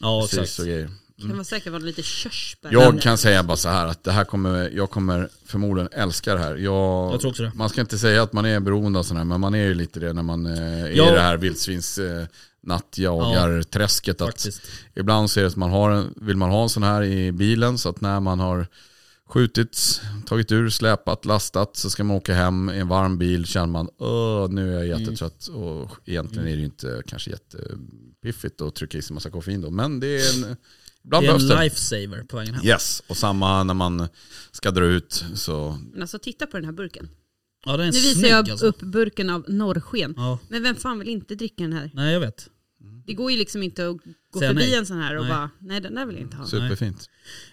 ja precis exakt. och grejer. Kan vara säkert vara lite körsbär. Jag kan säga bara så här att det här kommer, jag kommer förmodligen älska det här. Jag, Jag tror också det. Man ska inte säga att man är beroende av sådana här, men man är ju lite det när man eh, är Ja. i det här vildsvins eh, nattjagar-träsket. att Faktiskt. ibland så är det att man har, en- vill man ha en sån här i bilen så att när man har skjutit, tagit ur, släpat, lastat så ska man åka hem i en varm bil känner man Åh, nu är jag jättetrött Mm. och egentligen är det ju inte kanske jättepiffigt att trycka i sig massa koffein då men det är en, ibland Det är behövs en det. lifesaver på vägen hem. Yes, och samma när man ska dra ut så Men alltså titta på den här burken. Ja, den är Nu snygg visar jag alltså. upp burken av norrsken. Ja, Men vem fan vill inte dricka den här? nej jag vet. Det går ju liksom inte att gå Säga förbi nej. en sån här och Nej. bara, nej den där vill jag inte ha. superfint.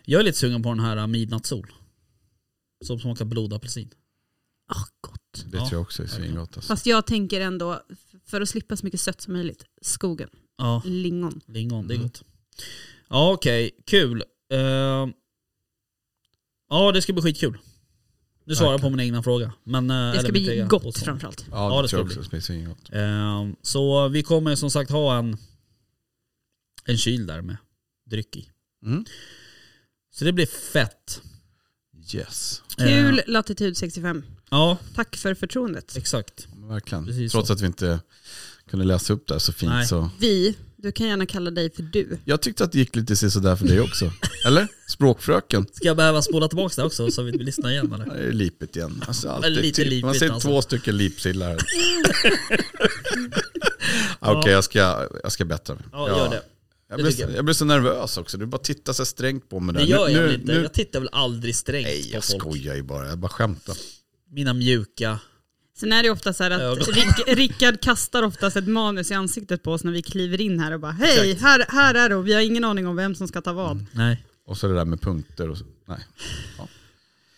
Jag är lite sugen på den här äh, midnattssol. Som smakar blodapelsin. Ah, gott. Det Ja. tror jag också är svingott. Alltså. Fast jag tänker ändå, f- för att slippa så mycket sött som möjligt, skogen, Ja, lingon. lingon, det är gott. Ja okej, kul. Eh, ja det ska bli skitkul. Nu svarar jag på min egna fråga. Men, eh, Det eller ska mitt bli egna gott påstående. framförallt. Ja, Ja, det, det tror jag ska också det blir svingott. Ehm, Så vi kommer som sagt ha en, en kyl där med dryck i. Mm. Så det blir fett. Yes, Kul Eh, latitud 65. ja, Tack för förtroendet. exakt. ja, men verkligen. Precis Trots att vi inte kunde läsa upp det här så fint Nej. så. Vi, du kan gärna kalla dig för du. Jag tyckte att det gick lite sådär för dig *laughs* också. Eller? Språkfröken. Ska jag behöva spola tillbaka det också så vi lyssnar igen eller? Ja, Det är lipigt igen. Alltså, alltid, Lite typ- man lipigt, ser alltså. två stycken lipsillar *laughs* här. Okej, jag, ska, jag ska bättra mig. Ja, gör det. Jag, Det blir, tycker jag. jag blir så nervös också. Du bara tittar så här strängt på mig där. Det gör jag nu, väl inte. Nu, Jag tittar väl aldrig strängt nej, på jag folk. skojar ju bara. Jag bara skämtar. Mina mjuka. Sen är det ju ofta så här att Ögon. Rick, Rickard kastar oftast ett manus i ansiktet på oss när vi kliver in här och bara hej, här, här är det och vi har ingen aning om vem som ska ta vad. Nej. Och så det där med punkter och så. Nej.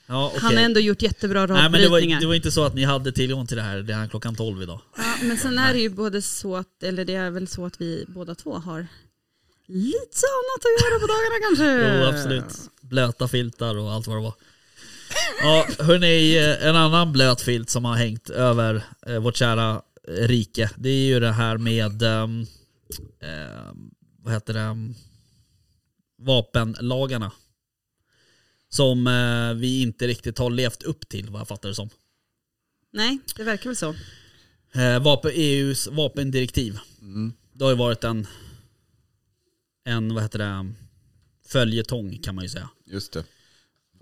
Ja, okej. Han har ändå gjort jättebra Nej men det var, radbrytningar. det var inte så att ni hade tillgång till det här redan klockan 12 idag. Ja, men sen är det ju både så att, eller det är väl så att vi båda två har lite så annat att göra på dagarna kanske. Jo absolut. Blöta filtar och allt vad det var. Ja hörni, eh, en annan blöt filt som har hängt över eh, vårt kära eh, rike. Det är ju det här med ehm, eh, vad heter det, ehm, vapenlagarna. Som eh, vi inte riktigt har levt upp till vad jag fattar det som. Nej, det verkar väl så. Eh, vapen, EUs vapendirektiv. Det har ju varit en, en vad heter det, ehm, följetong kan man ju säga. Just det.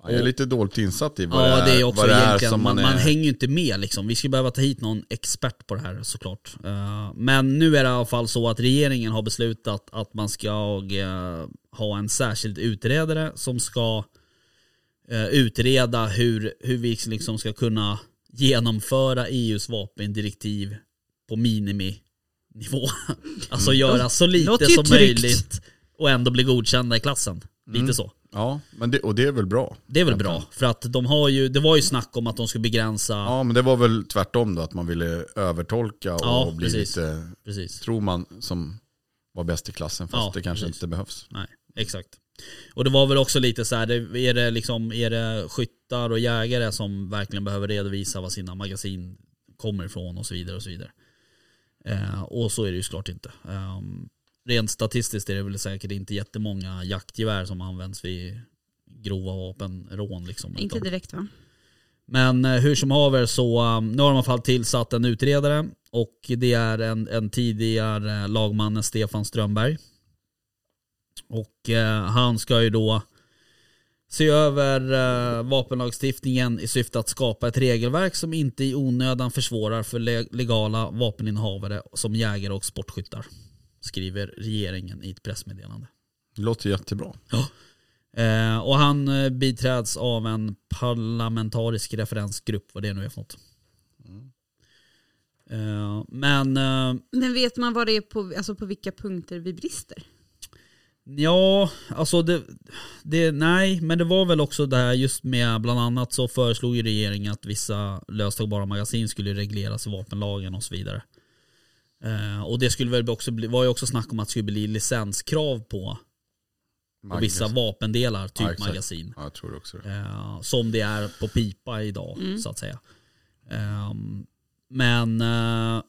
Ja, Jag är lite dåligt insatt i vad Ja det är också vad det är egentligen, som man, man, man, är. hänger ju inte med liksom. Vi skulle behöva ta hit någon expert på det här såklart. Eh, men nu är det i alla fall så att regeringen har beslutat att man ska eh, ha en särskild utredare som ska eh, utreda hur, hur vi liksom ska kunna genomföra EUs vapendirektiv på miniminivå. *laughs* alltså Mm. göra så lite låter ju som tryggt. möjligt och ändå bli godkända i klassen. Mm. Lite så. Ja, men det, och det är väl bra. Det är väl bra, för att de har ju, det var ju snack om att de skulle begränsa, Ja, men det var väl tvärtom då, att man ville övertolka och Ja, bli precis. lite, precis. tror man, som var bäst i klassen, fast Ja, det kanske precis. inte behövs. Nej, exakt. Och det var väl också lite så här, det- är det, liksom, är det skyttar och jägare som verkligen behöver redovisa vad sina magasin kommer ifrån och så vidare och så vidare. Eh, och så är det ju såklart inte. Ehm, rent statistiskt är det väl säkert inte jättemånga jaktgevär som används vid grova vapenrån. Liksom, Inte utan- direkt va? Men eh, hur som haver så eh, nu har de i alla fall tillsatt en utredare och det är en, en tidigare eh, lagmannen Stefan Strömberg. Och eh, han ska ju då se över eh, vapenlagstiftningen i syfte att skapa ett regelverk som inte i onödan försvårar för le- legala vapeninnehavare som jägare och sportskyttar. Skriver regeringen i ett pressmeddelande. Det låter jättebra. Eh, och han eh, biträds av en parlamentarisk referensgrupp, vad det nu är för något. Eh, men eh, Men vet man vad det är på, alltså på vilka punkter vi brister? ja, alltså det, det, nej, men det var väl också det här just med, bland annat så föreslog ju regeringen att vissa löstagbara magasin skulle regleras i vapenlagen och så vidare. Eh, och det skulle väl också bli, var ju också snack om att det skulle bli licenskrav på, på Magnus. vissa vapendelar, typ Ja, exakt. magasin. Ja, jag tror också det. Eh, som det är på pipa idag så att säga. Ehm, men eh,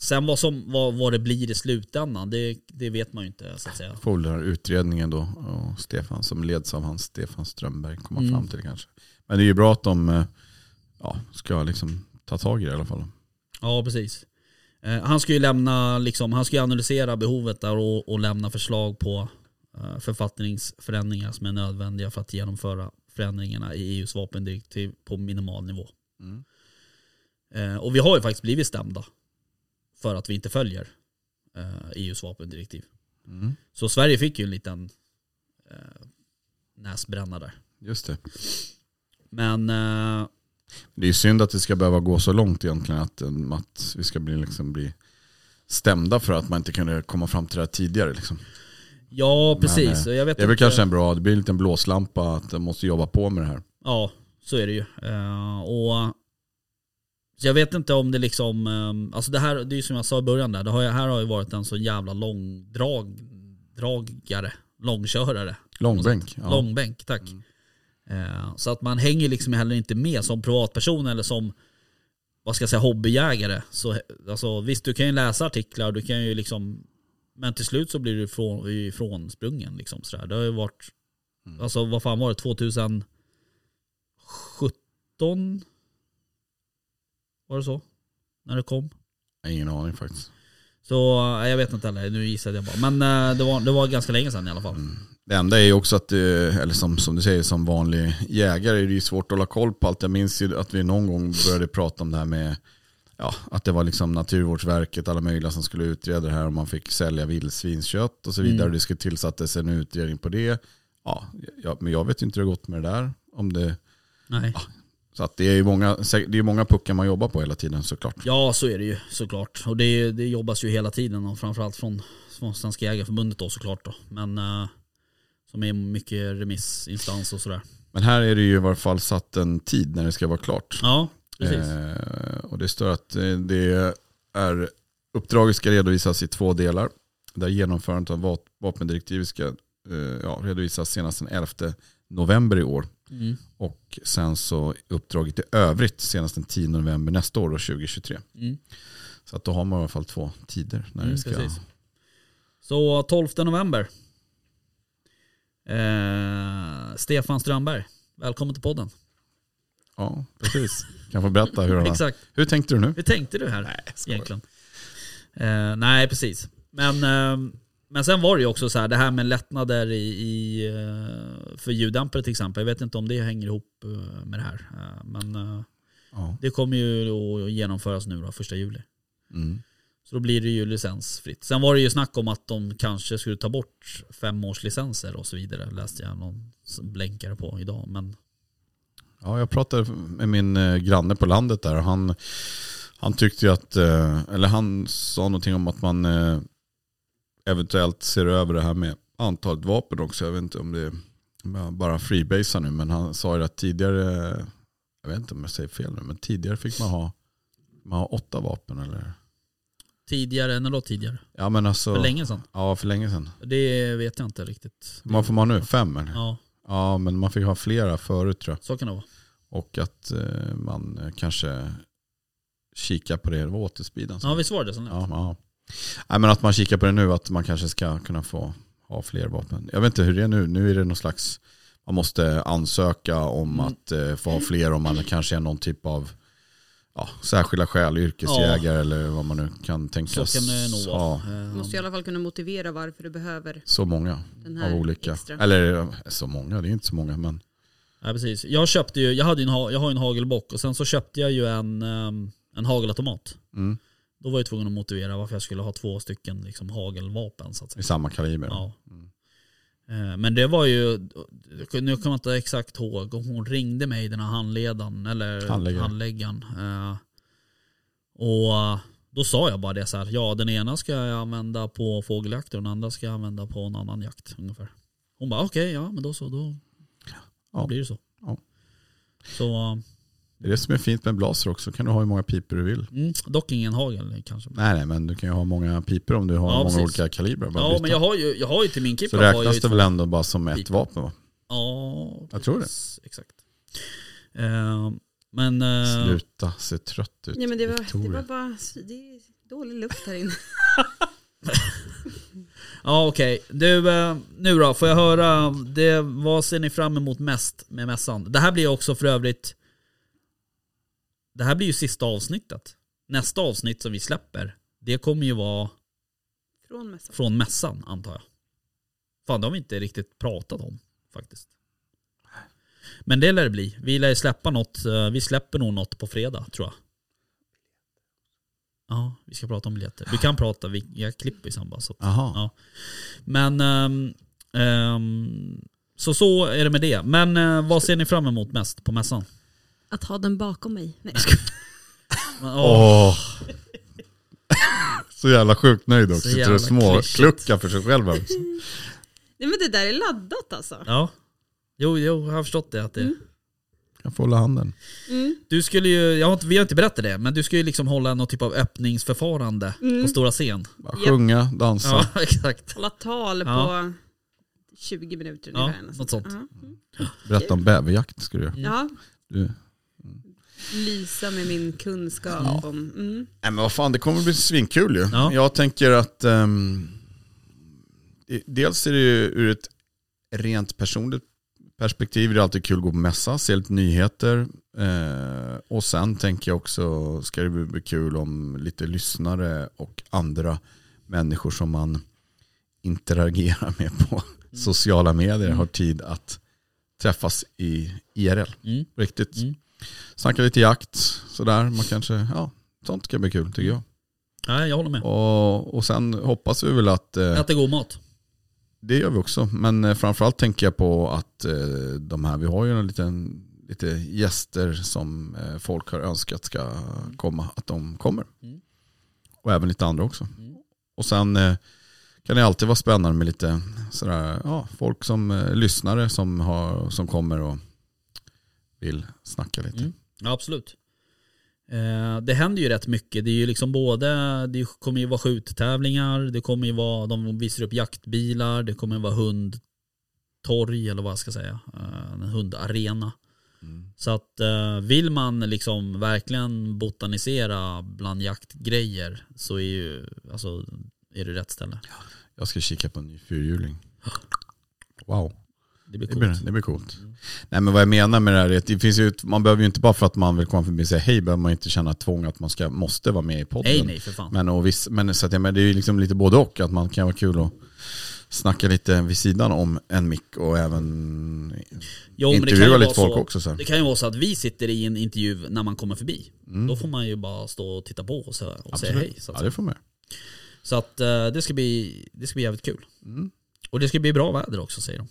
sen vad, som, vad, vad det blir i slutändan, det, det vet man ju inte så att säga. Får väl den här utredningen då, och Stefan, som leds av hans Stefan Strömberg, komma Mm. fram till det kanske. Men det är ju bra att de eh, ja, ska liksom ta tag i det i alla fall. Ja, precis. Eh, han ska ju lämna, liksom, han ska ju analysera behovet där och, och lämna förslag på eh, författningsförändringar som är nödvändiga för att genomföra förändringarna i EUs vapendirektiv på minimal nivå. Mm. Eh, och vi har ju faktiskt blivit stämda för att vi inte följer eh, EUs vapendirektiv. Mm. Så Sverige fick ju en liten eh, näsbränna där. Just det. Men eh, Det är ju synd att det ska behöva gå så långt egentligen att, en- att vi ska bli, liksom, bli stämda för att man inte kunde komma fram till det här tidigare. Liksom. ja, Men, precis. eh, jag vet Det är väl inte- kanske en bra, det blir en liten blåslampa att de måste jobba på med det här. Ja, så är det ju. Eh, och så jag vet inte om det liksom, eh, alltså det här, det är ju som jag sa i början där, det har, ju- här har ju varit en så jävla långdrag, dragare, långkörare, Långbänk. Ja. långbänk, tack. Eh, så att man hänger liksom heller inte med som privatperson eller som, vad ska jag säga, hobbyjägare. Så, alltså, visst, du kan ju läsa artiklar, du kan ju liksom, men till slut så blir du ifrån, ifrånsprungen liksom sådär. Det har ju varit, alltså vad fan var det, 2017? Var det så? När det kom? Ingen aning faktiskt. Så eh, jag vet inte heller, nu gissade jag bara. Men eh, det var, det var ganska länge sedan i alla fall. Det enda är ju också att, det- eller som, som du säger, som vanlig jägare är det ju svårt att hålla koll på allt. Jag minns ju att vi någon gång började prata om det här med ja, att det var liksom Naturvårdsverket, alla möjliga som skulle utreda det här om man fick sälja vildsvinskött och så vidare. Mm. Det skulle tillsattes en utredning på det. Ja, ja, men jag vet ju inte hur det har gått med det där. Om det, Nej. så att det är ju många, det är ju många puckar man jobbar på hela tiden såklart. Ja, så är det ju såklart. Och det, det jobbas ju hela tiden och framförallt från, från Svenska Jägareförbundet då såklart då. Men eh, som är mycket remissinstans och sådär. Men här är det ju i varje fall satt en tid när det ska vara klart. Ja, precis. Eh, och det står att eh, det är, uppdraget ska redovisas i två delar. Där genomförandet av va- vapendirektivet ska eh, ja, redovisas senast den 11 november i år. Mm. Och sen så uppdraget i övrigt senast den 10 november nästa år, då, 2023. Mm. Så att då har man i alla fall två tider när Mm, det ska precis. Så 12 november. Eh, Stefan Strömberg, välkommen till podden. Ja, precis. Kan få *laughs* berätta hur det var. Exakt. Hur tänkte du nu? Hur tänkte du här egentligen? Eh, nej, precis. Men, eh, men sen var det ju också så här, det här med lättnader i, i, eh, för ljuddämpare till exempel. Jag vet inte om det hänger ihop eh, med det här. Eh, men eh, Ja. det kommer ju att genomföras nu då, första juli. Mm. Så då blir det ju licensfritt. Sen var det ju snack om att de kanske skulle ta bort femårslicenser och så vidare. Läste jag någon som blänkade på idag. Men Ja, jag pratade med min eh, granne på landet där och han, han tyckte ju att, eh, eller han sa någonting om att man eh, eventuellt ser över det här med antalet vapen också. Jag vet inte om det är om jag bara freebasar nu, men han sa ju att tidigare, eh, jag vet inte om jag säger fel nu, men tidigare fick man ha, man ha åtta vapen eller? tidigare, när då tidigare? Ja men alltså, För länge sedan? ja, för länge sedan. Det vet jag inte riktigt. Vad får man nu? Fem eller? Ja. Ja, men man fick ha flera förut tror jag. så kan det vara. Och att eh, man eh, kanske kikar på det, det var återspeedaren som- Ja visst var det så? Ja, ja. Nej, men att man kikar på det nu, att man kanske ska kunna få ha fler vapen. Jag vet inte hur det är nu. Nu är det någon slags, man måste ansöka Mm. om att eh, få ha fler om man kanske är någon typ av ja, särskilda skäl, yrkesjägare eller vad man nu kan Så tänkas. kan det nog ja, vara. Eh, Du måste i alla fall kunna motivera varför du behöver så många den av här olika. extra. Eller eh, så många, det är inte så många men Ja, precis. Jag köpte ju, jag, hade ju en, ha- jag har ju en hagelbock och sen så köpte jag ju en, ehm, en hagelautomat. mm, Då var jag tvungen att motivera varför jag skulle ha två stycken liksom, hagelvapen så att i säga. samma kaliber. Ja. Mm. Eh, Men det var ju, nu kommer jag inte exakt ihåg om hon ringde mig den här handledaren eller Handläggaren. handläggaren. Eh, Och då sa jag bara det så här, ja den ena ska jag använda på fågeljakt och den andra ska jag använda på en annan jakt ungefär. Hon bara okej, ja men då så, då, Ja. då blir det så. Ja. Så, Det är det som är fint med blaser också, kan du ha hur många piper du vill. mm, dock ingen hagel kanske. Nej, nej men du kan ju ha många piper om du har Ja, många precis. olika kalibrer. bara Ja byta. men jag har ju, jag har ju till min kippa. Så har jag ju räknas det två- väl ändå bara som ett Lite. vapen va? Ja, Jag tror det. precis, Exakt. Eh, men... eh, Sluta se trött ut. Ja, men det, var, det Victoria. var bara det är dålig luft här inne. *laughs* Ja okej, du eh, nu då får jag höra, det, vad ser ni fram emot mest med mässan? Det här blir också för övrigt, det här blir ju sista avsnittet. Nästa avsnitt som vi släpper, det kommer ju vara Från mässan. från mässan antar jag. Fan det har vi inte riktigt pratat om faktiskt. Men det lär det bli. Vi lär ju släppa något, eh, vi släpper nog något på fredag tror jag. Ja, vi ska prata om biljetter. Vi kan prata, vi, jag klipper i samband så att- Aha. Ja. Men ehm, ehm, så så är det med det. Men eh, vad ser ni fram emot mest på mässan? Att ha den bakom mig. Nej, Men, åh, Åh. Så jävla sjukt nöjd också. Så Sitter jävla och små klyschigt. kluckar för sig *laughs* själv. här också. Nej men det där är laddat alltså. Ja. Jo, jo, jag har förstått det. Att det Jag får hålla handen. Du skulle ju, jag har inte, vi har inte berättat det, men du ska ju liksom hålla någon typ av öppningsförfarande på stora scen. Bara sjunga, dansa. *laughs* Ja, exakt. Hålla tal Ja. på 20 minuter Ja, ungefär. nästan. något sånt. Ja. Berätta om bäverjakt ska du göra. Ja, Du. lysa med min kunskap om... Mm. Nej men vad fan, det kommer bli svinkul ju. Ja. Jag tänker att ehm, i- dels är det ju ur ett rent personligt perspektiv, det är alltid kul att gå på mässa, se lite nyheter. Eh, och sen tänker jag också, ska det bli- bli kul om lite lyssnare och andra människor som man interagerar med på Mm. sociala medier har tid att träffas i IRL. Mm. Riktigt. Mm. Snacka lite jakt, sådär. Man kanske, ja, sånt kan bli kul tycker jag. Nej, jag håller med. Och, och sen hoppas vi väl att, eh, Äta god mat. det gör vi också, men eh, framförallt tänker jag på att eh, de här, vi har ju en liten, lite gäster som eh, folk har önskat ska komma, att de kommer. Mm. Och även lite andra också. Och sen eh, kan det alltid vara spännande med lite sådär, ja, folk som eh, lyssnare som, har, som kommer och vill snacka lite. Mm. Ja, absolut. Eh, det händer ju rätt mycket. Det är ju liksom både, det kommer ju vara skjuttävlingar, det kommer ju vara, de visar upp jaktbilar, det kommer vara hundtorg eller vad jag ska säga. Eh, en hundarena. Så att eh, vill man liksom verkligen botanisera bland jaktgrejer så är ju, alltså är det rätt ställe. Jag ska kika på en ny fyrhjuling. Wow. Det blir Det blir, coolt. det blir coolt. Nej men vad jag menar med det här är att det finns ju, ett- man behöver ju inte bara för att man vill komma förbi och säga hej behöver man inte känna tvång att man ska, måste vara med i podden. Nej nej för fan. Men, och viss, men, så att, jag menar det är ju liksom lite både och, att man kan vara kul att snacka lite vid sidan om en mick och även Jo, men det kan ju intervjua lite vara folk så, också. Så. här. det kan ju vara så att vi sitter i en intervju när man kommer förbi. Då får man ju bara stå och titta på och, så, och säga hej. Så att, Mm. Ja det får man göra. så att eh, det, ska bli, det ska bli jävligt kul. Mm. Och det ska bli bra väder också säger de.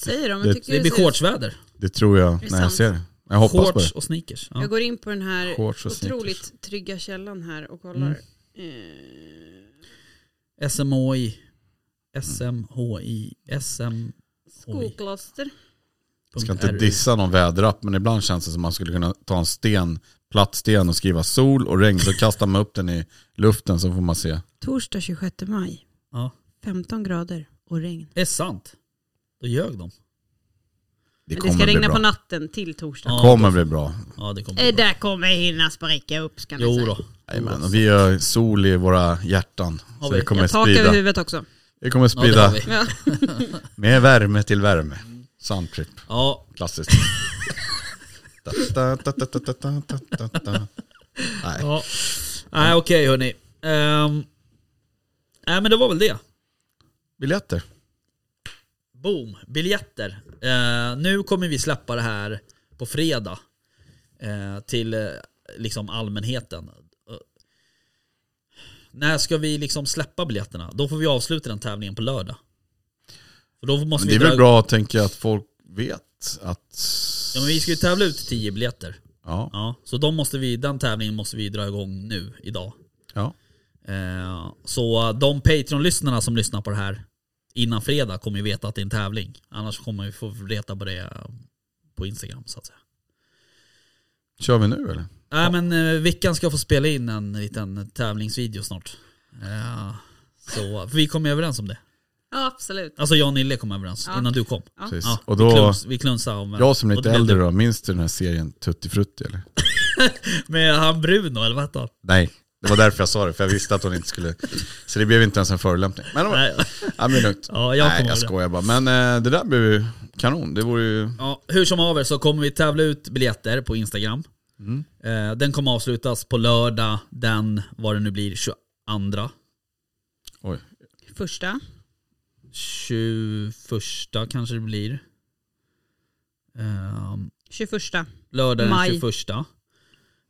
Säger de. Det- Jag tycker Det blir ser ut- shortsväder. Det tror jag när jag sant. ser det. Jag hoppas på det. Shorts och sneakers. Ja. Jag går in på den här Shorts och otroligt sneakers. Mm. trygga källan här och kollar. Eh, SMHI. SMHI. SM... Skokloster. Jag ska inte dissa någon väderapp men ibland känns det som att man skulle kunna ta en sten, platt sten och skriva sol och regn så kastar man upp den i luften så får man se. Torsdag 26 maj. Ja. 15 grader och regn. Är sant? Då ljög de. Det Men det kommer ska bli regna bra. på natten till torsdag. Ja, kommer bli bra. Ja det kommer bli Det bra. där kommer hinna spricka upp ska ni Jo säga. då. Jajamän, och vi har sol i våra hjärtan. Så vi. det kommer Jag tak över sprida, huvudet också. det kommer Ja, det har sprida vi. Ja. *laughs* med värme till värme. Soundtrip, Ja, *laughs* klassiskt. *laughs* Da, da, da, da, da, da, da, da, da. Nej, Ja. Nej okej hörni. Ehm, nej men det var väl det. biljetter. Boom, biljetter. Eh, nu kommer vi släppa det här på fredag eh, till eh, liksom allmänheten. Eh, när ska vi liksom släppa biljetterna? Då får vi avsluta den tävlingen på lördag. För då måste Men det vi dra är väl bra att tänka att folk vet att... Ja, men vi ska ju tävla ut 10 biljetter. Ja, Ja, så de måste vi, den tävlingen måste vi dra igång nu, idag. ja. Eh, Så de Patreon-lyssnarna som lyssnar på det här innan fredag kommer ju veta att det är en tävling. Annars kommer vi få reta på det eh, på Instagram så att säga. Kör vi nu eller? Nej men eh, Vickan ska få spela in en liten tävlingsvideo snart. Ja, så för vi kom ju överens om det. ja, absolut. Alltså jag och Nille kom överens Ja. innan du kom. Precis. Ja, och vi, då, kluns, vi klunsade om vem. jag som är Och lite det blev äldre du. då, minns du den här serien Tutti Frutti eller? Med han Bruno eller vad hette han? Nej, det var därför jag sa det, för jag visste att hon inte skulle... Så det blev inte ens en förolämpning. Men det var, Nej. ja, men det är lugnt. Ja, jag Nej, kommer jag ihåg det. skojar bara. Men eh, det där blev ju kanon. Det vore ju... Ja, hur som haver så kommer vi tävla ut biljetter på Instagram. Eh, den kommer avslutas på lördag den, vad det nu blir, 22. Oj. Första. 21 kanske det blir. Ehm, 21. lördag den Maj. 21.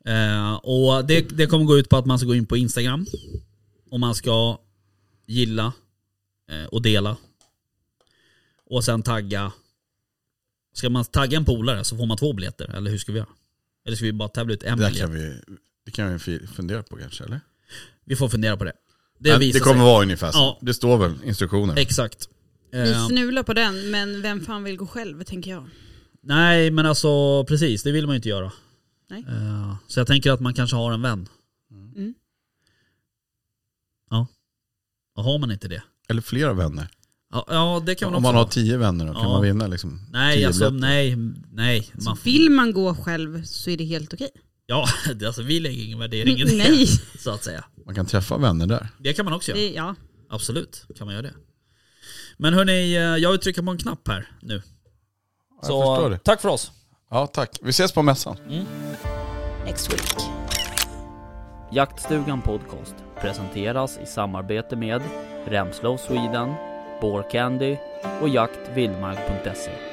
Eh, och det, det kommer gå ut på att man ska gå in på Instagram. Och man ska gilla eh, och dela. Och sen tagga. Ska man tagga en polare så får man två biljetter, eller hur ska vi göra? Eller ska vi bara tävla ut en Det där biljett? kan vi, det kan vi fi- fundera på kanske, eller? Vi får fundera på det. Det Det, visar det kommer sig. vara ungefär så. Ja. Det står väl instruktioner. Exakt. Vi Eh, snular på den, men vem fan vill gå själv tänker jag. nej men alltså precis, det vill man ju inte göra. Nej. Eh, så jag tänker att man kanske har en vän. Mm. Ja. Och har man inte det? Eller flera vänner. Ja, ja det kan man Om också man ha. har tio vänner då, kan Ja. man vinna liksom? Nej, tio alltså biljetter? nej, nej. Man, Så vill man gå själv så är det helt okej. ja, *laughs* det- alltså vi lägger ingen *laughs* värdering i det. Nej. Så att säga. Man kan träffa vänner där. Det kan man också göra. Det, ja. Absolut kan man göra det. Men hörni, eh, jag vill trycka på en knapp här nu. Jag förstår det. tack för oss. Ja, tack. Vi ses på mässan. Next week. Jaktstugan Podcast presenteras i samarbete med Remslow Sweden, Candy och jaktvildmark.se.